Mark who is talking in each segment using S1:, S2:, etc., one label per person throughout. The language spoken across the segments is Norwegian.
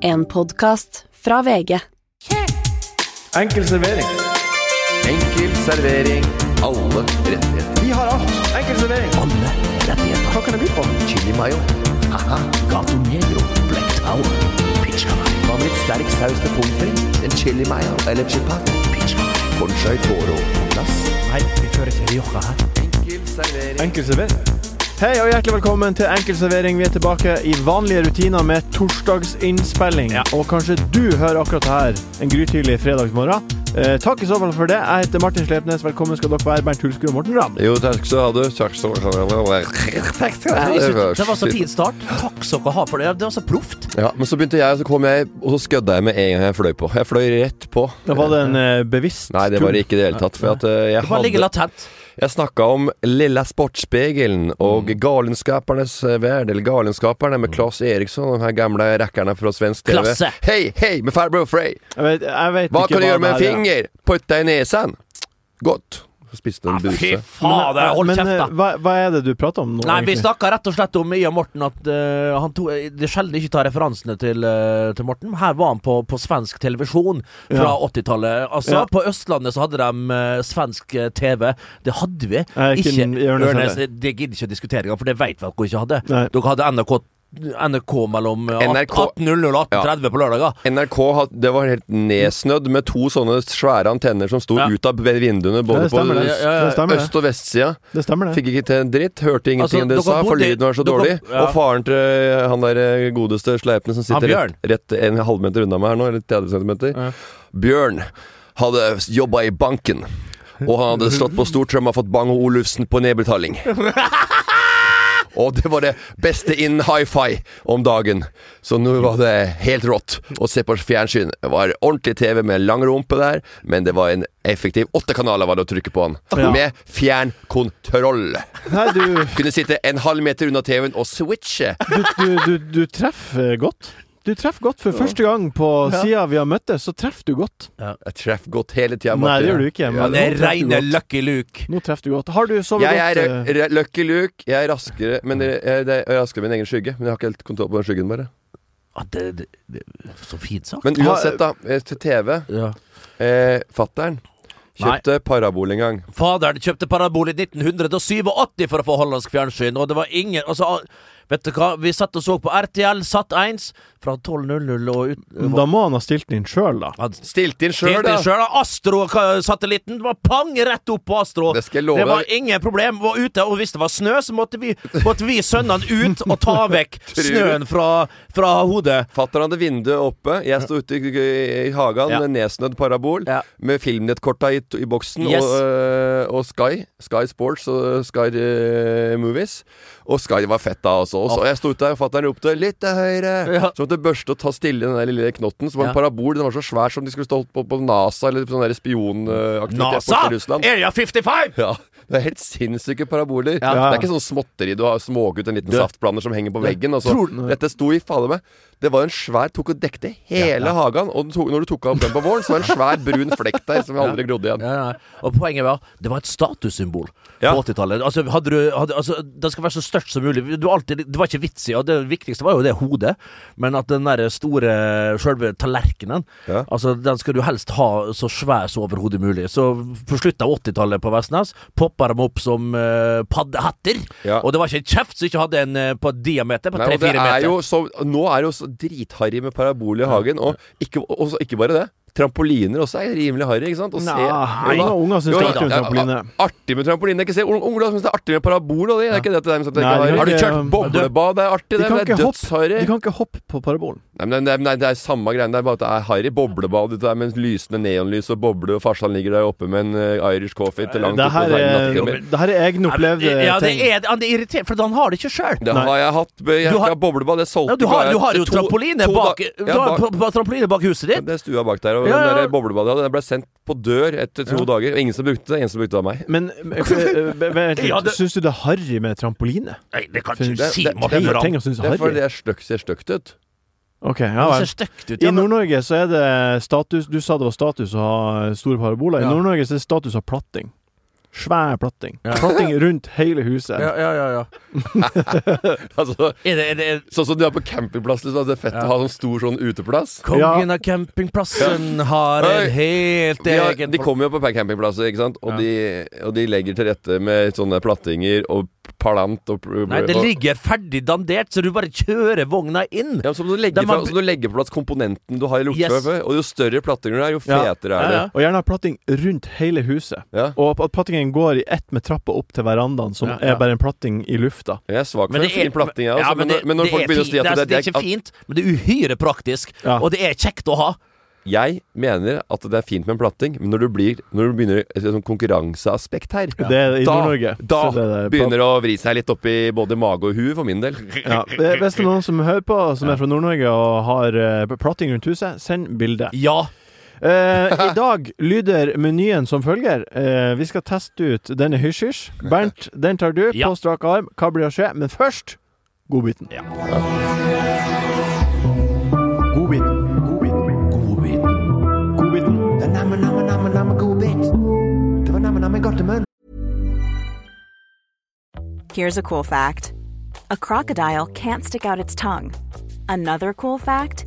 S1: En podkast fra VG.
S2: Enkel servering.
S3: Enkel servering. Alle rettigheter.
S2: Vi har alt. Enkel servering.
S3: Alle rettigheter.
S2: Hva kan det by på?
S3: Chili mayo. Haha. Gato negro. Black tower. Pizza. Hva med litt sterk saus til pommes frites? En chili mayo eller chipat? Pizza. Conchai toro på plass.
S4: Nei, vi fører til Rioja her.
S3: Enkel servering.
S2: Enkel servering. Hei og hjertelig velkommen til Enkel servering. Vi er tilbake i vanlige rutiner med torsdagsinnspilling.
S4: Ja.
S2: Og kanskje du hører akkurat det her en grytidlig fredagsmorgen. Eh, takk i så fall for det. Jeg heter Martin Slepnes. Velkommen skal dere være, Bernt Hulsker og Morten Ramm.
S5: Jo, takk skal du ha. Takk skal du ha.
S4: Jeg
S5: det var
S4: synes Det var så
S5: fint.
S4: fin start. Takk skal dere ha for det. Det var så proft.
S5: Ja, men så begynte jeg, og så kom jeg, og så skødde jeg med en gang jeg fløy på. Jeg fløy rett på.
S2: Da var det en eh, bevisst
S5: Nei, det var det ikke i det hele tatt. For at eh, jeg,
S4: Det bare ligger
S5: hadde,
S4: latent.
S5: jeg snakka om Lilla Sportspegelen og
S2: Mm.
S5: Galenskapernes eh, verd, eller Galenskaperne, med Claes Eriksson, de her gamle rackerne fra svensk TV.
S4: Klasse.
S5: Hei, hei, med Farbror Frey!
S2: Jeg vet, jeg vet
S5: Hva
S2: ikke
S5: kan du gjøre med en
S2: det her er.
S5: finger? Putte i nesen? Godt. Så spiste
S2: Ah,
S5: en
S4: Ah, Fy
S5: buse.
S4: fader, hold
S2: Men
S4: kjeft,
S2: eh,
S4: da.
S2: hva, hva er det du prater om nå?
S4: Nei, Vi
S2: egentlig?
S4: snakka rett og slett om Ian Morten at eh, han to, eh, det er sjelden ikke tar referansene til, eh, til Morten. Her var han på, på svensk televisjon fra
S2: Ja.
S4: 80-tallet. Altså,
S2: Ja.
S4: På Østlandet så hadde de eh, svensk eh, TV. Det hadde vi
S2: Nei, Eh, ikke
S4: ikke.
S2: den- Ørnes
S4: Ørnes, eh,
S2: heller.
S4: det gidder ikke å diskutere engang, for det veit vi at dere ikke hadde.
S2: Nei.
S4: Dere hadde NRK, NRK mellom eh,
S5: NRK
S4: 18.00 og 18.30 på lørdager.
S5: NRK had- det var helt nedsnødd med to sånne svære antenner som sto
S4: Ja.
S5: ut av vinduene
S2: Ja,
S5: både
S2: det
S5: på
S2: stemmer, det.
S4: Ja, ja, ja.
S2: Det stemmer,
S5: øst- og vestsida.
S2: det. det stemmer, det.
S5: Fikk ikke til en dritt, hørte
S4: Altså,
S5: ingenting av det
S4: dere
S5: de sa, for
S4: bodde i-
S5: lyden var så
S4: dere-
S5: dårlig.
S4: ja.
S5: Og faren til eh, han der eh, godeste sleipne som sitter
S4: Ja, Bjørn.
S5: rett, rett en halvmeter unna meg her nå, eller 30 centimeter, Bjørn hadde jobba i banken. Og han hadde slått på stortromma og fått Bang og Olufsen på nedbetaling. Og det var det beste innen hi-fi om dagen. Så nå var det helt rått å se på fjernsyn. Det var ordentlig TV med lang rumpe der, men det var en effektiv Åtte kanaler var det å trykke på han.
S2: Ja.
S5: Med fjernkontroll.
S2: Nei, du,
S5: Kunne sitte en halv meter unna TV-en og switche.
S2: du, du, du, du treffer godt. Du treffer godt. For første gang på sida vi har møttes, så treffer du godt.
S5: Jeg treffer godt hele tida.
S2: Nei, det gjør du ikke.
S4: Men
S2: Men
S4: det
S2: nå treffer du
S4: reine
S2: godt.
S4: Lucky Luke.
S2: Nå treffer du godt. Har du sovet
S5: Jeg er
S2: godt? eh,
S5: r- r- Lucky Luke. Jeg er raskere men det, jeg, det, jeg er raskere med min egen skygge. Men jeg har ikke helt kontroll på den skyggen, bare.
S4: Ja, det, det, det, så fint sagt.
S5: Men uansett, da. eh, Til TV.
S4: ja.
S5: Eh, Fattern kjøpte parabol en gang.
S4: Faderen kjøpte parabol i 1987 for å få hollandsk fjernsyn, og det var ingen altså, al- Vet du hva, vi satt og så på RTL, satt 1 fra 12.00 og ut
S2: Men Da må han ha stilt den inn sjøl, da.
S4: Han
S5: Stilte inn Mm, sjøl,
S4: stilte
S5: da!
S4: sjøl av Astro-satellitten. Det var pang rett opp på Astro.
S5: Det skal jeg love
S4: Det var
S5: deg.
S4: ingen problem. Var ute, og hvis det var snø, så måtte vi, måtte vi sønnene ut og ta vekk
S5: du?
S4: snøen fra, fra hodet.
S5: Fatter'n hadde vinduet oppe. Jeg sto ute i, i hagen
S4: Ja.
S5: med nedsnødd parabol.
S4: Ja.
S5: Med filmnettkorta i, i boksen
S4: Yes.
S5: og, øh, og Sky. Sky Sports og eh, Sky øh, Movies. Og Sky var fett da også. Og så- jeg sto ute der, og fatter'n ropte 'litt til høyre'.
S4: Ah. Ja.
S5: Så måtte jeg børste og ta stille den der lille knotten. Som var
S4: Ja.
S5: en parabol. Den var så svær som de skulle stått på, på NASA eller på sånn der spionaktivitet
S4: NASA!
S5: borte i Russland.
S4: Area 55!
S5: Ja, det er helt sinnssyke paraboler.
S2: Ja.
S5: Det er ikke sånn småtteri du har småget ut en liten saftblander som henger på veggen. Og så. Dette sto i fader meg Det var en svær tok og dekte hele hagen. Og den tok, når du tok av den på våren, så var det en svær brun flekk der som aldri grodde igjen.
S4: Ja, ja. Og poenget var det var et statussymbol
S5: Ja.
S4: på 80-tallet. Altså, hadde du- hadde- altså, det skal være så størst som mulig. Du, alltid, det var ikke vits i, og det viktigste var jo det hodet, men at den der store, sjølve tallerkenen
S5: Ja.
S4: Altså, Den skal du helst ha så svær som overhodet mulig. Så på slutten av 80-tallet på Vestnes poppa de opp som eh, paddehatter,
S5: Ja.
S4: og det var ikke en kjeft som ikke hadde en eh, på diameter, på
S5: Nei, og det
S4: 3-4
S5: er
S4: meter.
S5: jo så, nå er det jo så dritharry med parabol i hagen. Og ikke, og så- ikke bare det. Trampoliner også er rimelig harry. ikke sant? Å se-
S2: Nei,
S5: Jo da.
S2: noen unger syns det
S5: Jo
S2: er
S5: da,
S2: artig med
S5: ja,
S2: trampoline.
S5: a- Artig med trampoline. Ikke se, Ung- Ungdom syns det er artig med parabol. Og det. det er ikke det til dem som tenker
S2: Nei, de
S5: harry.
S2: kan
S5: Har du
S2: ikke-
S5: kjørt boblebad? Det er artig,
S2: De
S5: det.
S2: kan
S5: Det
S2: ikke
S5: er
S2: hoppe,
S5: dødsharry.
S2: de kan ikke hoppe på parabolen.
S5: Nei, men det, er- nei, det er samme greien. Det er bare at det er harry. Boblebad ute der med lysende neonlys og boble, og farsan ligger der oppe med en eh, Irish coffee til langt
S2: Det
S5: oppå
S2: her
S4: eh,
S2: er,
S5: nattetimer.
S2: det her er egenopplevde
S4: ja, det
S2: ting.
S4: er, han er irritert, for han har det ikke sjøl.
S5: eh, Det har jeg hatt. eh, Jeg
S4: Du
S5: har,
S4: har-
S5: boblebad. Det solgte
S4: Ja, du,
S5: bare
S4: har, du har jo
S5: to-
S4: trampoline
S5: to
S4: bak,
S5: da-
S4: du
S5: ja,
S4: har
S5: bak-
S4: pa- pa- trampoline bak huset ditt.
S5: Det er stua bak der. Og
S4: Ja, ja,
S5: den
S4: ja.
S5: der boblebadet jeg hadde, den ble sendt på dør etter to dager. Ingen som brukte det. Ingen som brukte det var meg.
S2: Men eh, eh, vent
S4: Ja,
S2: litt,
S4: det-
S2: syns du det er harry med trampoline?
S4: Nei, det kan
S2: Synes-
S4: ikke du si,
S5: det- det-
S4: Morten.
S2: Tre
S4: for han-
S2: ting å synes
S5: Det
S2: er
S5: er fordi
S2: harry.
S5: det er støkk, ser stygt ut.
S2: Ok, ja
S4: Det
S2: vel.
S4: ser stygt ut.
S2: I
S4: Ja, men,
S2: Nord-Norge så er det status Du sa det var status å ha store paraboler. I
S4: Ja.
S2: Nord-Norge så er det status å ha platting. Svær platting. Platting rundt hele huset.
S4: Ja, ja, ja, ja.
S5: Altså,
S4: Er det, er det
S5: sånn som du har på campingplass. Liksom, at det er fett
S4: Ja.
S5: å ha sånn stor sånn uteplass.
S4: Kongen av campingplassen har
S5: Oi.
S4: en helt
S5: De, har,
S4: egen
S5: de kommer jo på campingplasser, ikke sant? Og, de, og de legger til rette med sånne plattinger og palant og
S4: Nei, det
S5: og-
S4: ligger ferdig dandert, så du bare kjører vogna inn.
S5: Ja, så må du legge,
S4: Det er
S5: fra,
S4: man-
S5: så må du legge på plass komponenten du har i
S4: Yes.
S5: lukteprøve. Og jo større plattinger du er, jo
S2: Ja.
S5: fetere
S4: Ja,
S5: er det.
S4: ja.
S2: Og gjerne ha platting rundt hele huset.
S5: Ja.
S2: Og at plattingen går i ett med trappa opp til verandaen, som
S4: Ja, ja.
S2: er bare en platting i lufta.
S5: Jeg er svak for en fin platting, jeg.
S4: ja,
S5: Altså, men, når- men når
S4: det
S5: folk
S4: er
S5: begynner å
S4: fint.
S5: si at
S4: det, er,
S5: det,
S4: det er ikke
S5: at
S4: fint, men det er uhyre praktisk.
S2: Ja.
S4: Og det er kjekt å ha.
S5: Jeg mener at det er fint med en platting, men når du, blir, når du begynner et sånt konkurranseaspekt her
S2: Det er i Nord-Norge.
S5: Da, da
S2: så det er
S5: begynner det å vri seg litt opp i både mage og hue, for min del.
S2: Ja, Hvis det er noen som hører på, som er fra Nord-Norge og har eh, platting rundt huset, send bilde.
S4: Ja.
S2: Eh, I dag lyder menyen som følger. Eh, vi skal teste ut denne hysj-hysj. Bernt, den tar du
S4: Ja.
S2: på strak arm. Hva blir å skje? Men først godbiten.
S4: Ja.
S2: Godbiten. Godbiten. Godbiten.
S6: Here's a cool fact a crocodile can't stick out its tongue. Another cool fact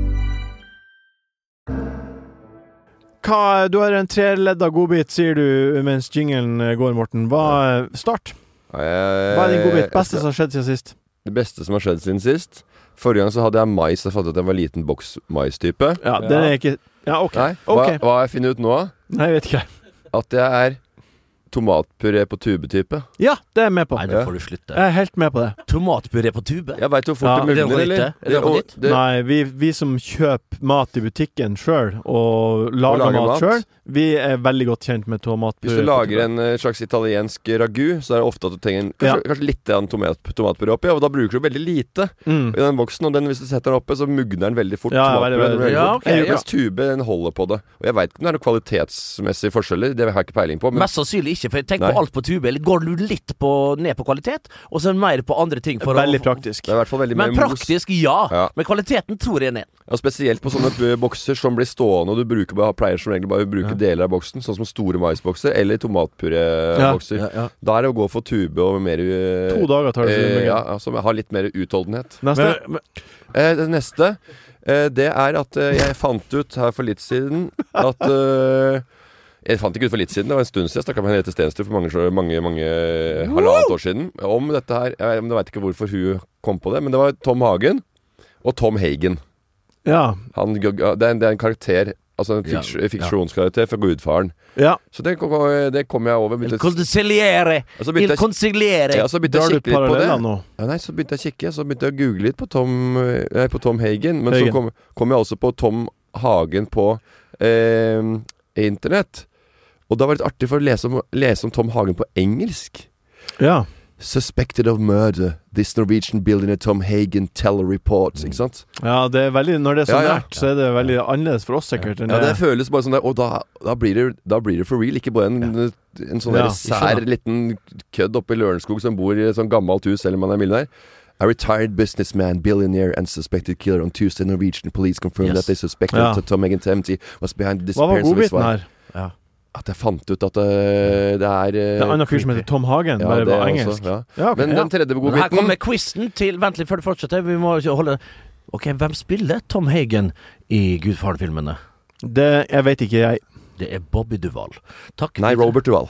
S2: Hva, du har en treledda godbit, sier du mens jinglen går, Morten. Hva, start. Hva er din
S5: Eh,
S2: godbit? Beste som har skjedd siden sist?
S5: Det beste som har skjedd siden sist? Forrige gang så hadde jeg mais. Jeg fant ut at jeg var liten boks-mais-type.
S2: Ja, den er ikke Ja, OK.
S5: Nei, hva,
S2: Ok.
S5: hva har jeg funnet ut nå?
S2: Nei, jeg vet ikke.
S5: At jeg er tomatpuré på tube-type.
S2: Ja, det er jeg med på.
S4: Nei,
S2: Jeg
S4: nå får du slutte.
S2: er helt med på det.
S4: Tomatpuré på tube?
S5: Jeg veit jo fort
S2: Ja,
S5: det
S4: det var
S5: mugner,
S4: nytt,
S5: eller?
S4: det. Det var
S5: og-
S4: nytt.
S5: det-
S2: Nei, vi, vi som kjøper mat i butikken sjøl, og lager,
S5: lager
S2: mat
S5: mat.
S2: sjøl, vi er veldig godt kjent med tomatpuré.
S5: Hvis du lager en eh, slags italiensk ragu, så er det ofte at du trenger en- kanskje, kanskje litt grann tomat, tomatpuré oppi, og da bruker du veldig lite
S2: Mm.
S5: i den boksen. Og den, hvis du setter den oppe, så mugner den veldig fort.
S2: Ja,
S5: tomatpuré,
S2: veldig, veldig.
S5: den blir
S4: Ja,
S5: fort.
S4: ok, ja.
S5: Mens tube den holder på det. Og jeg veit ikke om det er noen kvalitetsmessige forskjeller, det har jeg ikke peiling på. Men
S4: Mest sannsynlig ikke, for tenk
S5: Nei.
S4: på alt på tube. Eller går du litt på, ned på kvalitet, og så mer på andre ting? For
S2: Veldig
S4: å,
S2: praktisk.
S5: det er i hvert fall veldig
S4: men
S5: mye mos.
S4: praktisk, ja.
S5: Ja.
S4: Men kvaliteten tror jeg ned.
S5: Ja, spesielt på sånne b- bokser som blir stående, og du bruker bare, pleier som regel bare å bruke deler av boksen, sånn som store maisbokser eller tomatpurébokser.
S2: Ja, ja, ja.
S5: Da er det å gå for tube og mer eh,
S2: To dager tar det. for
S5: eh,
S2: meg.
S5: ja, ja, Som har litt mer utholdenhet.
S2: Neste.
S4: Men- men-
S5: Eh, det neste, eh, det er at eh, jeg fant ut her for litt siden at eh, jeg fant ikke ut for litt siden, det var en stund siden. Jeg snakka med Henriette Stenstrup for mange, mange, mange eh, halvannet år siden om dette her. Jeg, jeg veit ikke hvorfor hun kom på det, men det var Tom Hagen og Tom Hagen.
S2: Ja.
S5: Han, det, er en, det er en karakter Altså en fiks,
S4: Ja, ja.
S5: fiksjonskarakter fra Gudfaren.
S2: ja.
S5: Så det, kom- det kom jeg over. Begynte, jeg-
S4: Conciliere!
S5: og så begynte jeg, ja, så begynte
S2: Drar
S5: jeg
S2: du
S5: kikke litt på det.
S2: paralleller nå?
S5: Ja, nei, så begynte jeg å kikke, så begynte jeg å google litt på Tom, eh, nei, på Tom Hagen. Men
S2: Hagen.
S5: så kom, kom jeg også på Tom Hagen på eh, internett. Og da var det litt artig for å lese om, lese om Tom Hagen på engelsk.
S2: Ja.
S5: Suspected of murder. This Norwegian billionaire Tom Hagen teller reports. Ikke sant?
S2: ja, det er veldig Når det er så
S5: Ja, ja.
S2: nært, så er det veldig annerledes for oss, sikkert. enn
S5: Ja, det føles bare sånn der Og da, da, blir, det, da blir det for real. Ikke bare en, en sånn
S2: Ja,
S5: der sær
S2: skjønner.
S5: liten kødd oppe i Lørenskog som bor i et sånt gammelt hus, selv om han er millionær. A retired businessman, billionaire and suspected killer on Tuesday Norwegian police confirmed that
S4: Yes.
S5: they suspected
S2: Ja.
S5: that Tom Hagen Tempty was behind the
S2: Hva var
S5: disappearance of his
S2: godbiten
S5: wife.
S2: her?
S5: At jeg fant ut at øh, det er
S2: Det er en annen fyr som heter Tom Hagen, bare på engelsk.
S5: ja.
S2: Ja, ok,
S5: Men
S2: ja.
S5: den tredje
S4: Men Her
S5: godbiten
S4: kommer quizen til Vent litt før du fortsetter. Vi må ikke holde Ok, hvem spiller Tom Hagen i Gudfaren-filmene?
S2: Det, jeg vet ikke, jeg.
S4: Det er Bobby Duval. Takk
S5: Nei, Robert Duval.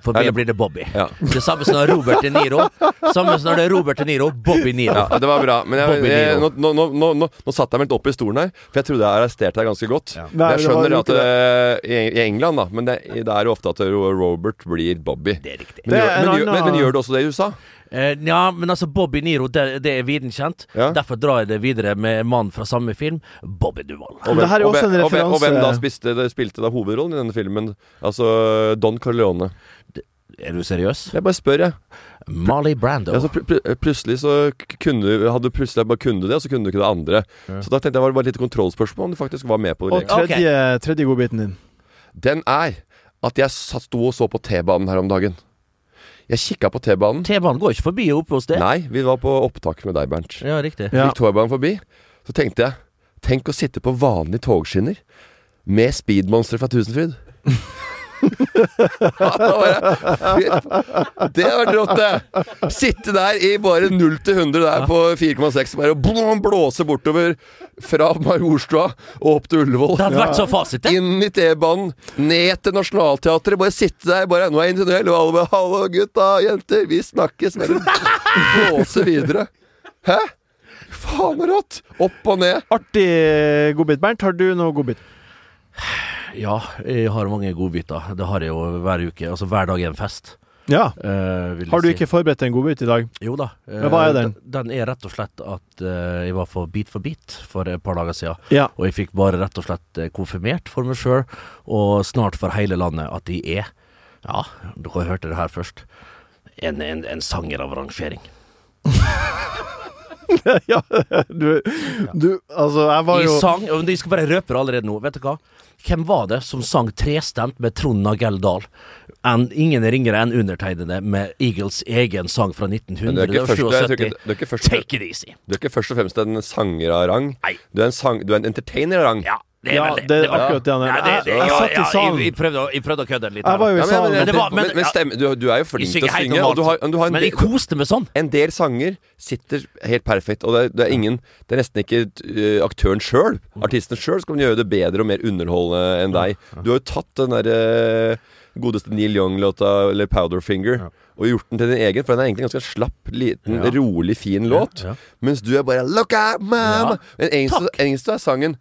S4: For meg
S5: Eller-
S4: blir det Bobby.
S5: Ja.
S4: Det samme som når Robert De Niro. Samme som når det er Robert De Niro, Bobby Niro.
S5: Ja, det var bra. Men jeg,
S4: Bobby
S5: jeg, nå,
S4: Niro.
S5: nå, nå, nå, nå, nå satt jeg meg litt opp i stolen her, for jeg trodde jeg arresterte deg ganske godt. Men
S2: Nei,
S5: jeg
S2: det var
S5: skjønner
S2: jo
S5: at eh, i, I England, da. Men det, det er jo ofte at Ro- Robert blir Bobby.
S4: Det er riktig.
S5: Men,
S2: Det
S5: gjør,
S2: er en
S5: men, gjør, men,
S2: annen-
S5: men gjør du også det i USA?
S4: Eh, ja, men altså, Bobby Niro, det, det er viden kjent.
S5: Ja.
S4: Derfor drar jeg det videre med mannen fra samme film, Bobby Duval.
S5: Og
S2: Det her er
S5: og
S2: også en
S5: og hvem, og hvem da
S2: referanse.
S5: spiste, spilte da hovedrollen i denne filmen? Altså Don Corleone.
S4: Er du seriøs?
S5: Jeg bare spør, jeg.
S4: Marley Brando.
S5: Ja, så pl pl plutselig så k- kunne du, hadde du plutselig bare kunne du det, og så kunne du ikke det andre. Så da tenkte jeg var det bare et lite kontrollspørsmål om du faktisk var med på det.
S2: Og
S5: eller ikke.
S2: tredje, tredje godbiten din.
S5: Den er at jeg satt, sto og så på T-banen her om dagen. Jeg kikka på T-banen.
S4: T-banen går ikke forbi oppe hos deg.
S5: Nei, vi var på opptak med deg, Bernt.
S4: Ja, riktig.
S2: Ja.
S5: Gikk T-banen forbi. Så tenkte jeg Tenk å sitte på vanlige togskinner med speedmonstre fra Tusenfryd. Ja, da var jeg- Fy- det var rått, det! Sitte der i bare 0 til 100 der på 4,6 bare og blå- blåse bortover fra Majorstua og opp til
S4: Det
S5: Ullevål.
S4: hadde vært så fasit, det.
S5: Inn i T-banen, ned til Nationaltheatret. Bare sitte der. bare, Nå er jeg inn i tunnel, og alle bare 'Hallo, gutta, jenter, vi snakkes'. Bare blåse videre. Hæ? Faen rått! Opp og ned.
S2: Artig godbit. Bernt, har du noe godbit?
S4: Ja, jeg har mange godbiter. Det har jeg jo hver uke. Altså hver dag er en fest.
S2: Ja.
S4: eh, vil jeg
S2: Har du
S4: si.
S2: ikke forberedt en godbit i dag?
S4: Jo da. eh,
S2: Men hva er den?
S4: Den er rett og slett at eh, jeg var for Beat for beat for et par dager siden.
S2: Ja.
S4: Og jeg fikk bare rett og slett eh, konfirmert for meg sjøl, og snart for hele landet, at de er Ja, dere hørte det her først. En, en, en sanger av rangering.
S2: ja. Du, du Altså, jeg var
S4: De
S2: jo
S4: sang og De skal bare røpe det allerede nå. Vet du hva? Hvem var det som sang trestemt med Trond Nagell Dahl? En, ingen ringere enn undertegnede med Eagles egen sang fra
S5: Men du er ikke først- jeg tror
S4: 1977.
S5: ikke- du er ikke først-
S4: Take it easy.
S5: Du er ikke først og fremst en sanger av rang.
S4: Nei.
S5: Du er en, sang, du er en entertainer av rang.
S4: Ja, det er
S2: Ja,
S4: vel
S2: det er akkurat det han er.
S4: Ja, det, det,
S2: Jeg- jeg
S4: ja,
S2: satt i
S4: ja,
S2: salen.
S4: Jeg, jeg, prøvde, å- jeg prøvde å kødde litt. her
S2: Jeg var
S4: nå.
S2: jo i
S5: Ja, men, men,
S2: salen.
S5: men,
S4: det var-
S5: men,
S4: men-
S5: stemme, du, du er jo flink
S4: Jeg
S5: til å
S4: synger helt
S5: synge, og du har,
S4: normalt,
S5: og du har en,
S4: men jeg
S5: del,
S4: koste meg sånn.
S5: en del sanger sitter helt perfekt, og det er, det er ingen Det er nesten ikke eh, aktøren sjøl, artisten sjøl, som kan gjøre det bedre og mer underholdende enn deg. Du har jo tatt den derre godeste Neil Young-låta, eller Powderfinger, og gjort den til din egen, for den er egentlig en ganske slapp, liten,
S4: Ja.
S5: rolig, fin låt.
S4: Ja, ja.
S5: Mens du er bare 'Look at mama'. Men engelsk, engelsk er sangen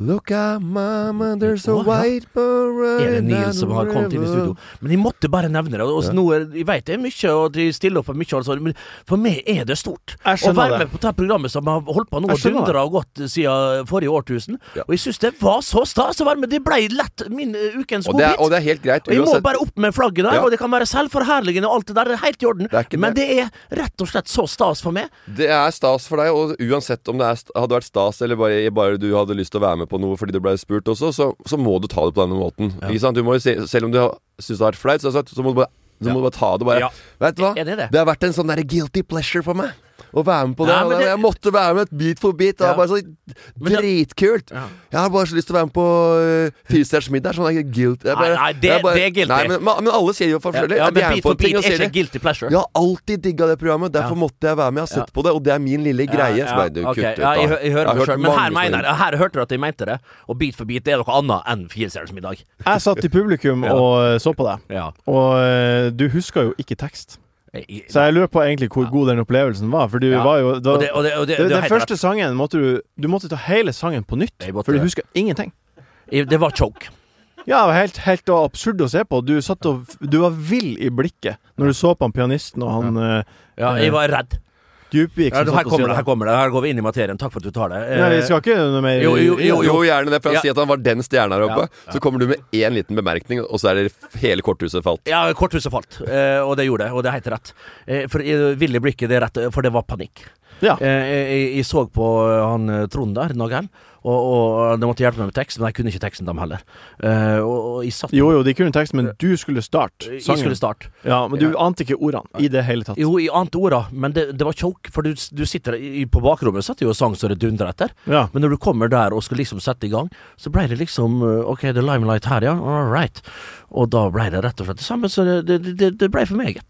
S5: 'Look at mama, there's a
S4: Å, ja.
S5: white bird
S4: Er det Neil som har kommet inn i studio? Men jeg måtte bare nevne det. Og så nå, er- jeg vet det er mye, og de stiller opp for mye, altså, men for meg er det stort.
S2: Jeg
S4: Å
S2: skjønner
S4: være
S2: det.
S4: med på dette programmet som har holdt på nå
S2: Jeg
S4: og
S2: skjønner det.
S4: dundra og gått siden forrige årtusen.
S5: Ja.
S4: Og jeg syns det var så stas å være med. Det ble lett min eh, ukens
S5: Og det, er, og
S4: godbit.
S5: det er helt greit.
S4: Og jeg må
S5: Uansett,
S4: bare opp med flagget der,
S5: Ja.
S4: og det kan være selvforherligende og alt det der. Det er helt i orden.
S5: Det er ikke
S4: Men
S5: det.
S4: det er rett og slett så stas for meg.
S5: det er stas for deg, og uansett om det er, st- hadde vært stas eller bare, bare du hadde lyst til å være med på noe fordi du ble spurt også, så, så må du ta det på denne måten. Ikke sant? Du må jo se, selv om du har- syns det har vært flaut, så, så, så må du bare så må du bare ta det. Bare.
S4: Ja.
S5: Vet du hva?
S4: Enig i det.
S5: har vært en sånn der guilty pleasure for meg. Å være med på det.
S4: Nei, men
S5: og
S4: det-
S5: Jeg måtte være med bit for bit. Det
S4: Ja.
S5: var bare så
S4: Men det-
S5: dritkult.
S4: Ja.
S5: Jeg har bare så lyst til å være med på uh, Firestjerners middag. Sånn der guilty. Jeg
S4: Nei,
S5: bare-
S4: nei, det-
S5: jeg bare-
S4: det er guilty.
S5: Nei, men, men alle sier jo
S4: Ja,
S5: forskjellig.
S4: ja,
S5: De
S4: men
S5: er med
S4: Beat
S5: på en
S4: for
S5: ting
S4: beat
S5: og
S4: er
S5: sier
S4: ikke
S5: det.
S4: guilty pleasure.
S5: Jeg har alltid digga det programmet. Derfor
S4: Ja.
S5: måtte jeg være med. Jeg har sett på det, og det er min lille greie.
S4: Ja,
S5: Så bare, du,
S4: ok,
S5: kutt ut,
S4: ja,
S5: da.
S4: jeg, hø- jeg hører
S5: har
S4: meg
S5: hørt
S4: selv, men
S5: mange
S4: her,
S5: som-
S4: mener, jeg- her hørte du at jeg mente det. Og Bit for bit er noe annet enn Firestjerners middag.
S2: Jeg satt i publikum
S4: Ja.
S2: og eh, så på deg,
S4: Ja.
S2: og eh, du huska jo ikke tekst.
S4: Jeg-
S2: Så jeg lurer på egentlig hvor god den opplevelsen var, for du
S4: Ja.
S2: var jo det var,
S4: Og det- og det- og det-
S2: Den-
S4: du har
S2: Den
S4: helt
S2: første sangen måtte du Du måtte ta hele sangen på nytt,
S4: Jeg måtte
S2: for du
S4: det.
S2: huska ingenting.
S4: rett. Det var choke.
S2: Ja, det var helt, helt absurd å se på. Du, satt og, du var vill i blikket når du så på han pianisten og han eh,
S4: Ja, jeg var redd.
S2: Djupvik
S4: Ja,
S2: som
S4: her
S2: satt og
S4: kommer det, her
S2: sier det.
S4: kommer det. Her går vi inn i materien. Takk for at du tar det. Eh,
S2: Nei, vi skal ikke noe mer
S4: Jo, jo,
S5: Jo, jo, gjerne det, for han
S4: Ja.
S5: sier at han var den stjerna her oppe.
S4: Ja.
S5: Så kommer du med én liten bemerkning, og så er det hele korthuset falt.
S4: Ja, korthuset falt, eh, og det gjorde det. Og det er helt rett. Eh, For eh, ville blikket, det er rett, for det var panikk.
S2: Ja.
S4: Eh, Jeg, jeg, jeg så på eh, han eh, Trond der, Nagel, og, og de måtte hjelpe meg med tekst, men jeg kunne ikke teksten dem heller. Eh, Og, og jeg satt
S2: Jo, jo, de kunne tekst, men du skulle starte
S4: Jeg
S2: sangen.
S4: skulle starte.
S2: Ja, men du ante ikke ordene i det hele tatt.
S4: Jo, i annet orda, men det, det var choke, for du, du sitter i, på bakrommet satt jo og sang så det dundra etter.
S2: Ja.
S4: Men når du kommer der og skal liksom sette i gang, så blei det liksom øh, OK, det er limelight her, ja. All right. Og da blei det rett og slett det samme, så det, det, det, det blei for meget.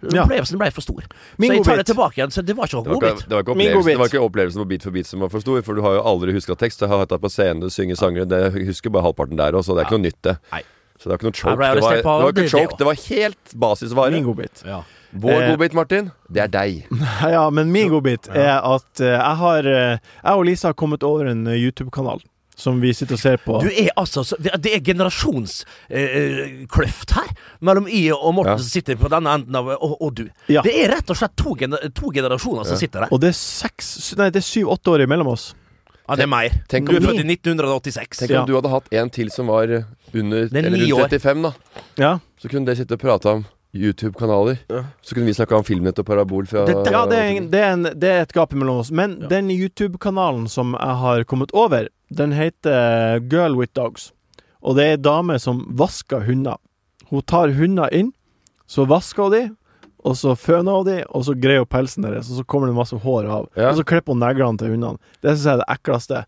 S2: Ja.
S4: Opplevelsen blei for stor.
S2: Min
S4: så jeg tar
S2: godbit.
S4: det tilbake igjen, så det var ikke
S5: Det
S4: noe
S5: var, ikke,
S4: godbit.
S5: det, var ikke
S2: Min
S5: opplevelsen-
S2: godbit.
S5: det var ikke opplevelsen på Beat for beat som var for stor, for du har jo aldri huska tekst. Jeg har hatt deg på scenen, du synger sanger, det jeg husker bare halvparten der også, og det er ikke noe nytt, det.
S4: Nei.
S5: Så det var ikke noe
S4: Jeg
S5: choke.
S4: ble
S5: Det var,
S4: arrestert
S5: det
S4: på
S5: var ikke
S4: det, det
S5: choke, det var helt basisvare.
S2: Min godbit.
S4: Ja.
S5: Vår
S2: Eh,
S5: godbit, Martin, det er deg.
S2: Ja, men min godbit er at eh, jeg har eh, Jeg og Lisa har kommet over en eh, YouTube-kanal som vi sitter og ser på.
S4: Du er altså så, Det er generasjonskløft her mellom I og Morten
S5: Ja.
S4: som sitter på denne enden av og, og du.
S2: Ja.
S4: Det er rett og slett to, gener to generasjoner som sitter der.
S2: Og det er seks Nei, det er syv-åtte år imellom oss.
S4: Ja, det er mer.
S5: Tenk om,
S4: Du er
S5: du,
S4: født i 1986.
S5: tenk
S2: Ja.
S5: om du hadde hatt en til som var under
S4: er
S5: eller
S4: ni
S5: rundt
S4: år.
S5: 35, da.
S2: Ja,
S5: Så kunne dere sitte og prate om YouTube-kanaler. Så kunne vi snakke om Filmnett og Parabol fra
S4: Det-
S2: ja det, er, en- det, er en, det er et gap imellom oss. Men den YouTube-kanalen som jeg har kommet over, den heter eh, Girl with Dogs. Og det er ei dame som vasker hunder. Hun tar hunder inn, så vasker hun de, og så føner hun de, og så greier hun pelsen deres, og så kommer det masse hår av.
S5: Ja.
S2: Og så klipper hun neglene til hundene. Det syns jeg er det ekleste.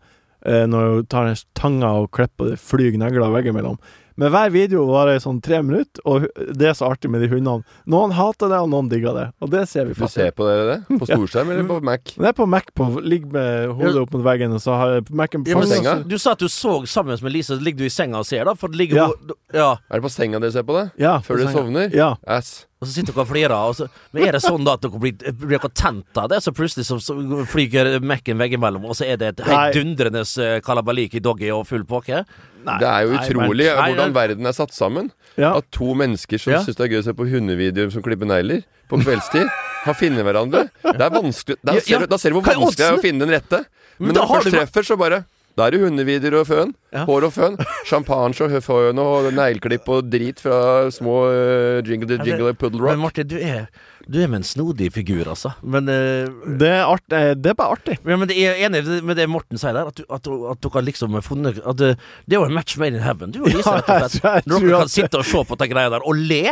S2: eh, Når hun tar den tanga og klipper, og det flyr negler veggimellom. Men hver video varer i sånn tre minutter, og hu- det er så artig med de hundene. Noen hater det, og noen digger det. Og det ser vi
S5: Du
S2: på.
S5: ser på dere det? På
S2: Ja.
S5: storskjerm eller på Mac?
S2: Det er på Mac på Ligg med hodet opp mot veggen, og så har jeg Mac-en på
S4: Ja, men
S5: På
S2: fanget.
S5: senga?
S4: så- du sa at du så sammen med Lisa, så ligger du i senga og ser, da? For det ligger
S2: Ja.
S4: hun Ja.
S5: Er det på senga dere ser på det?
S2: Ja, på
S5: Før dere
S2: senga.
S5: sovner?
S2: Ja.
S5: Ass.
S4: Og så sitter dere og flirer. og så- Men er det sånn da at dere blir, blir dere tent av det, så plutselig så, så flyger Mac-en veggimellom, og så er det et
S2: Nei.
S4: heidundrende eh, kalabalik i doggy og full pakke?
S2: Nei,
S5: Det er jo
S2: nei, men-
S5: utrolig
S4: Nei,
S5: hvordan
S4: det-
S5: verden er satt sammen.
S2: Ja.
S5: At to mennesker som
S4: Ja.
S5: syns det er gøy å se på hundevideoer som klipper negler på kveldstid, har funnet hverandre. Det er vanskelig Da
S4: Ja, ja.
S5: ser du, da ser du hvor
S4: Hva er
S5: vanskelig det er
S4: oddsen?
S5: å finne den rette. Men
S4: da
S5: når du
S4: har
S5: først
S4: du-
S5: treffer, så bare Da er det hundevideoer og føn.
S4: Ja.
S5: Hår og føn. Champagne og føn og negleklipp og drit fra små uh, jingle the jingle puddle
S4: Men
S5: rock.
S4: Martin, du er, du er med en snodig figur, altså. Men eh,
S2: Det er, art, eh, det er bare artig.
S4: Ja, men det er jeg er enig med det Morten sier der, at, du- at, at dere liksom har funnet at det, det er jo en match made in heaven. Du og Lisa,
S2: Ja,
S4: rett og
S2: jeg tror- jeg
S4: slett. Når
S2: tror
S4: dere
S2: at-
S4: kan sitte og se på de greiene der og le